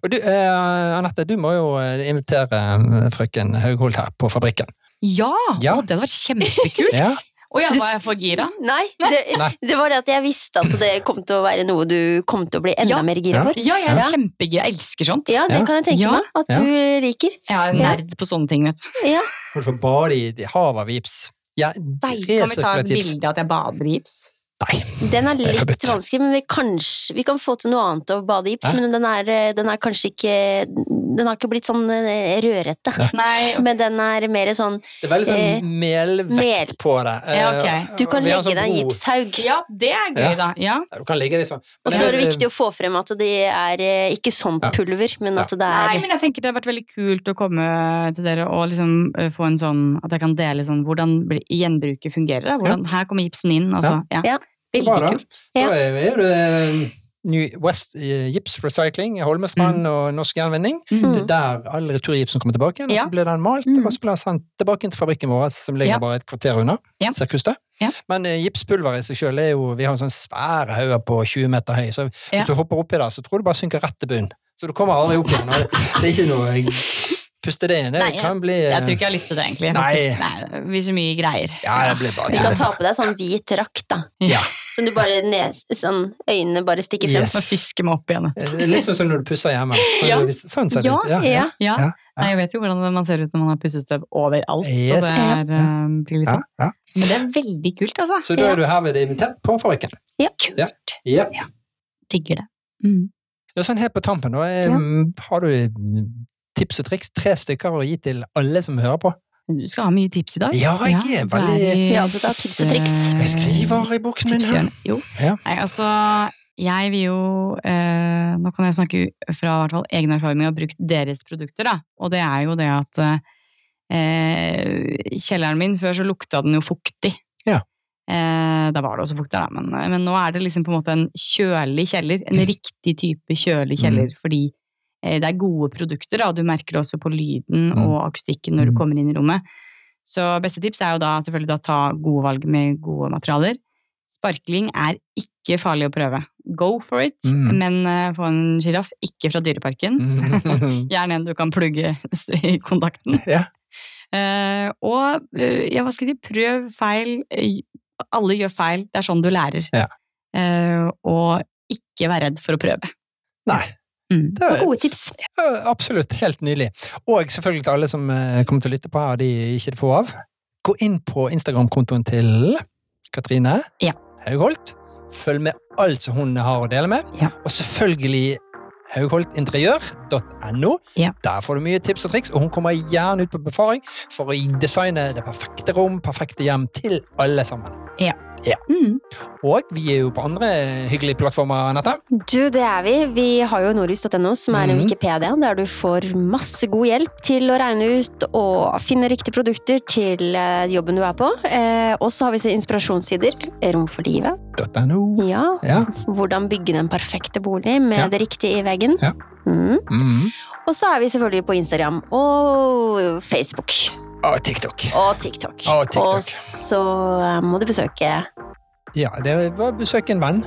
Speaker 1: Og du, eh, Anette, du må jo eh, invitere eh, frøken Haugholt her på fabrikken.
Speaker 3: Ja!
Speaker 1: Ja.
Speaker 3: Å, det hadde vært kjempekult!
Speaker 1: Ja,
Speaker 4: Å ja, var jeg for gira?
Speaker 2: Nei, det,
Speaker 1: Nei.
Speaker 2: det var det at jeg visste at det kom til å være noe du kom til å bli enda
Speaker 3: Ja.
Speaker 2: mer gira
Speaker 1: Ja.
Speaker 2: for.
Speaker 3: Ja, jeg er
Speaker 2: Ja.
Speaker 3: kjempegira. Jeg elsker sånt.
Speaker 2: Ja, det
Speaker 1: Ja.
Speaker 2: kan jeg tenke
Speaker 3: Ja.
Speaker 2: meg at
Speaker 1: Ja.
Speaker 2: du liker.
Speaker 3: Jeg er
Speaker 2: Ja.
Speaker 3: nerd på sånne ting, vet du.
Speaker 2: Ja.
Speaker 1: Hun får bade i de havet av vips. Ja,
Speaker 3: Nei, kan vi ta
Speaker 1: resirkulert
Speaker 3: et
Speaker 1: vips.
Speaker 3: bilde av at jeg bader i gips?
Speaker 1: Nei.
Speaker 2: Den er
Speaker 1: Det er
Speaker 2: litt
Speaker 1: forbudt.
Speaker 2: vanskelig, men vi, kanskje, vi kan få til noe annet av bade i gips.
Speaker 1: Hæ?
Speaker 2: Men den er, eh, den er kanskje ikke Den har ikke blitt sånn eh, rødrette.
Speaker 3: Nei,
Speaker 2: Men den er mer sånn
Speaker 1: Det er veldig
Speaker 2: Eh,
Speaker 1: sånn melvekt
Speaker 2: mel.
Speaker 1: på det.
Speaker 3: Ja, ok.
Speaker 2: Du kan
Speaker 1: Vi har en
Speaker 2: legge
Speaker 1: sånn
Speaker 2: deg en
Speaker 1: bro.
Speaker 2: gipshaug.
Speaker 3: ja, det er gøy,
Speaker 1: Ja.
Speaker 3: da. Ja.
Speaker 1: Ja, Du kan ligge liksom
Speaker 2: Og så er det viktig å få frem at det er eh, ikke sånt
Speaker 1: Ja.
Speaker 2: pulver, men at det
Speaker 3: Nei,
Speaker 2: er
Speaker 3: men jeg tenker det har vært veldig kult å komme til dere og liksom eh, få en sånn At jeg kan dele sånn hvordan bli- gjenbruket fungerer. Da. Hvordan, Her kommer gipsen inn, og så Ja.
Speaker 2: Ja.
Speaker 1: Bra, da.
Speaker 3: Veldig kult.
Speaker 1: Da
Speaker 2: Ja.
Speaker 1: er er det eh, New West eh, Gips Recycling i Holmestrand og Norsk Jernvinning.
Speaker 3: Mm.
Speaker 1: Det er der all returgipsen kommer tilbake igjen, og
Speaker 3: Ja.
Speaker 1: så blir den malt,
Speaker 2: Mm.
Speaker 1: og så blir den sendt tilbake inn til fabrikken vår, som ligger
Speaker 3: Ja.
Speaker 1: bare et kvarter unna.
Speaker 3: Ja.
Speaker 1: Sirkustet.
Speaker 3: Ja.
Speaker 1: Men eh, gipspulveret i seg sjøl er jo Vi har en sånn svære hauger på 20 meter høy, så hvis
Speaker 3: Ja.
Speaker 1: du hopper oppi der, så tror du bare synker rett til bunnen. Så du kommer aldri opp igjen. og Det det er ikke noe eh, Puste det inn. Det
Speaker 3: Nei,
Speaker 1: kan bli
Speaker 3: Jeg tror ikke jeg har lyst til det, egentlig.
Speaker 1: Nei.
Speaker 3: faktisk. Nei det blir så mye greier.
Speaker 1: eh, Ja, det blir bare
Speaker 2: Du kan ta
Speaker 1: tullete.
Speaker 2: på deg sånn hvit drakt, da.
Speaker 1: Ja.
Speaker 2: Som du bare nes, sånn, Øynene bare stikker frem.
Speaker 1: Yes.
Speaker 3: Må fiske meg opp igjen.
Speaker 1: Eh, Litt sånn som når du pusser hjemme. Sånn,
Speaker 3: Ja.
Speaker 1: hvis- sånn ser det
Speaker 2: Ja,
Speaker 1: ut.
Speaker 2: ja.
Speaker 3: Ja.
Speaker 1: Ja.
Speaker 3: Nei, jeg vet jo hvordan man ser ut når man har pussestøv overalt.
Speaker 1: Yes.
Speaker 3: Så det er, eh, blir litt
Speaker 1: Ja,
Speaker 3: sånn.
Speaker 1: ja.
Speaker 3: Men det er veldig kult, altså.
Speaker 1: Så da er du herved invitert på fabrikken.
Speaker 2: Ja.
Speaker 1: Ja.
Speaker 3: Digger det.
Speaker 2: Mm.
Speaker 1: Ja, sånn helt på tampen, da. eh, Har du tips og triks? Tre stykker å gi til alle som hører på?
Speaker 3: Du skal ha mye tips i dag.
Speaker 1: Ja, jeg er veldig
Speaker 2: Ja, du tar tips og
Speaker 3: Eh,
Speaker 2: triks.
Speaker 1: Jeg skriver i boken min her.
Speaker 3: tipshjørne. Jo.
Speaker 1: Ja.
Speaker 3: Nei, altså, jeg vil jo eh, Nå kan jeg snakke u- fra i hvert fall egen erfaring med å ha brukt deres produkter, da. Og det er jo det at eh, Kjelleren min, før så lukta den jo fuktig.
Speaker 1: Ja.
Speaker 3: Eh, da var det også fuktig, da, men, men nå er det liksom på en måte en kjølig kjeller. En riktig type
Speaker 1: Mm.
Speaker 3: kjølig kjeller, fordi eh, det er gode produkter, da. og Du merker det også på lyden
Speaker 1: Mm.
Speaker 3: og akustikken når du
Speaker 1: Mm.
Speaker 3: kommer inn i rommet. Så beste tips er jo da selvfølgelig da ta gode valg med gode materialer. Sparkling er ikke farlig å prøve. Go for it,
Speaker 1: Mm.
Speaker 3: men eh, få en sjiraff, ikke fra Dyreparken.
Speaker 1: Mm.
Speaker 3: Gjerne en du kan plugge i kontakten.
Speaker 1: Ja.
Speaker 3: Eh, og eh, ja, hva skal jeg si, prøv feil. Eh, Alle gjør feil, det er sånn du lærer.
Speaker 1: Ja.
Speaker 3: Eh, og ikke vær redd for å prøve.
Speaker 1: Nei.
Speaker 3: Mm.
Speaker 1: Det er
Speaker 2: Gode tips.
Speaker 1: eh, absolutt helt nydelig. Og selvfølgelig til alle som eh, kommer til å lytte på her, og de ikke får av. Gå inn på Instagram-kontoen til Katrine
Speaker 3: Ja.
Speaker 1: Haugholt. Følg med alt som hun har å dele med.
Speaker 3: Ja.
Speaker 1: Og selvfølgelig haugholtinteriør.no.
Speaker 3: Ja.
Speaker 1: Der får du mye tips og triks, og hun kommer gjerne ut på befaring for å designe det perfekte rom, perfekte hjem til alle sammen.
Speaker 3: Mm.
Speaker 1: Og vi er jo på andre hyggelige plattformer, Anette.
Speaker 2: Du, det er vi. Vi har jo norris.no, som er
Speaker 1: Mhm.
Speaker 2: en Wikipedia, der du får masse god hjelp til å regne ut og finne riktige produkter til eh, jobben du er på. Eh, og så har vi så inspirasjonssider. Rom for livet.
Speaker 1: .no.
Speaker 2: Ja.
Speaker 1: Ja.
Speaker 2: Hvordan bygge den perfekte bolig med
Speaker 1: Ja.
Speaker 2: det riktige i veggen.
Speaker 1: Ja.
Speaker 2: Mhm.
Speaker 1: Mm.
Speaker 2: Og så er vi selvfølgelig på Instagram og Facebook
Speaker 1: Og TikTok.
Speaker 2: og TikTok.
Speaker 1: Og TikTok.
Speaker 2: Og så eh, må du besøke
Speaker 1: Ja, det er bare besøk en venn.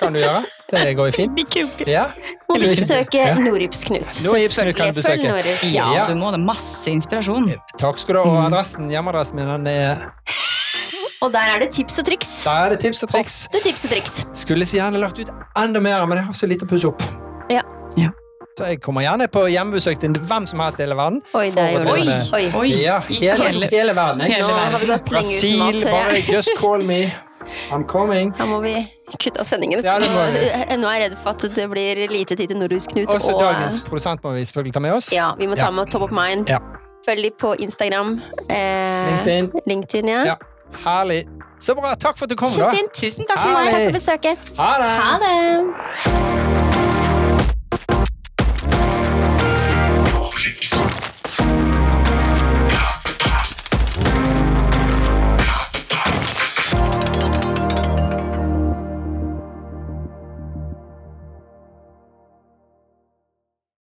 Speaker 1: Kan du gjøre. Det går jo fint. Ja.
Speaker 2: må du
Speaker 1: Eller-
Speaker 2: besøke
Speaker 1: Ja.
Speaker 2: Noribs Knut.
Speaker 1: Noribs Knut kan du
Speaker 2: Selvfølgelig. Følg
Speaker 1: besøke.
Speaker 2: Noribs Knut.
Speaker 3: Ja,
Speaker 1: Ja.
Speaker 3: så du må det. Masse inspirasjon.
Speaker 1: Takk skal du ha. Og adressen, hjemmeadressen min, den er
Speaker 2: Og der er det tips og triks.
Speaker 1: Der er det tips og triks.
Speaker 2: Ofte tips og triks.
Speaker 1: Skulle så gjerne lagt ut enda mer, men jeg har så lite å pusse opp.
Speaker 2: Ja.
Speaker 3: Ja.
Speaker 1: Så jeg kommer gjerne på hjemmebesøk til hvem som helst i hele verden.
Speaker 2: Oi, der gjorde
Speaker 1: Oi,
Speaker 2: du det. Oi.
Speaker 3: Oi,
Speaker 1: Ja,
Speaker 3: i
Speaker 1: hele,
Speaker 3: hele-
Speaker 1: hele verden. Jeg.
Speaker 3: hele
Speaker 2: Nå har vi gått
Speaker 3: verden.
Speaker 2: lenge uten mat,
Speaker 1: Brasil,
Speaker 2: hører
Speaker 1: bare
Speaker 2: jeg.
Speaker 1: just call me. I'm coming.
Speaker 2: Da må vi kutte av sendingen.
Speaker 1: Ja, det må
Speaker 2: for nå-
Speaker 1: vi.
Speaker 2: Nå er jeg redd for at det blir lite tid til Norhus Knut.
Speaker 1: Også
Speaker 2: og-
Speaker 1: dagens produsent må vi selvfølgelig ta med oss.
Speaker 2: Ja, vi må ta
Speaker 1: Ja.
Speaker 2: med Top of Mind.
Speaker 1: Ja.
Speaker 2: Følg de på Instagram. Eh,
Speaker 1: LinkedIn.
Speaker 2: LinkedIn, ja.
Speaker 1: Ja. Herlig. Så bra. Takk for at du kom, da.
Speaker 2: Kjempefint.
Speaker 3: Tusen takk
Speaker 2: Tusen
Speaker 1: Herlig.
Speaker 2: takk for besøket.
Speaker 1: Ha det.
Speaker 2: Ha det.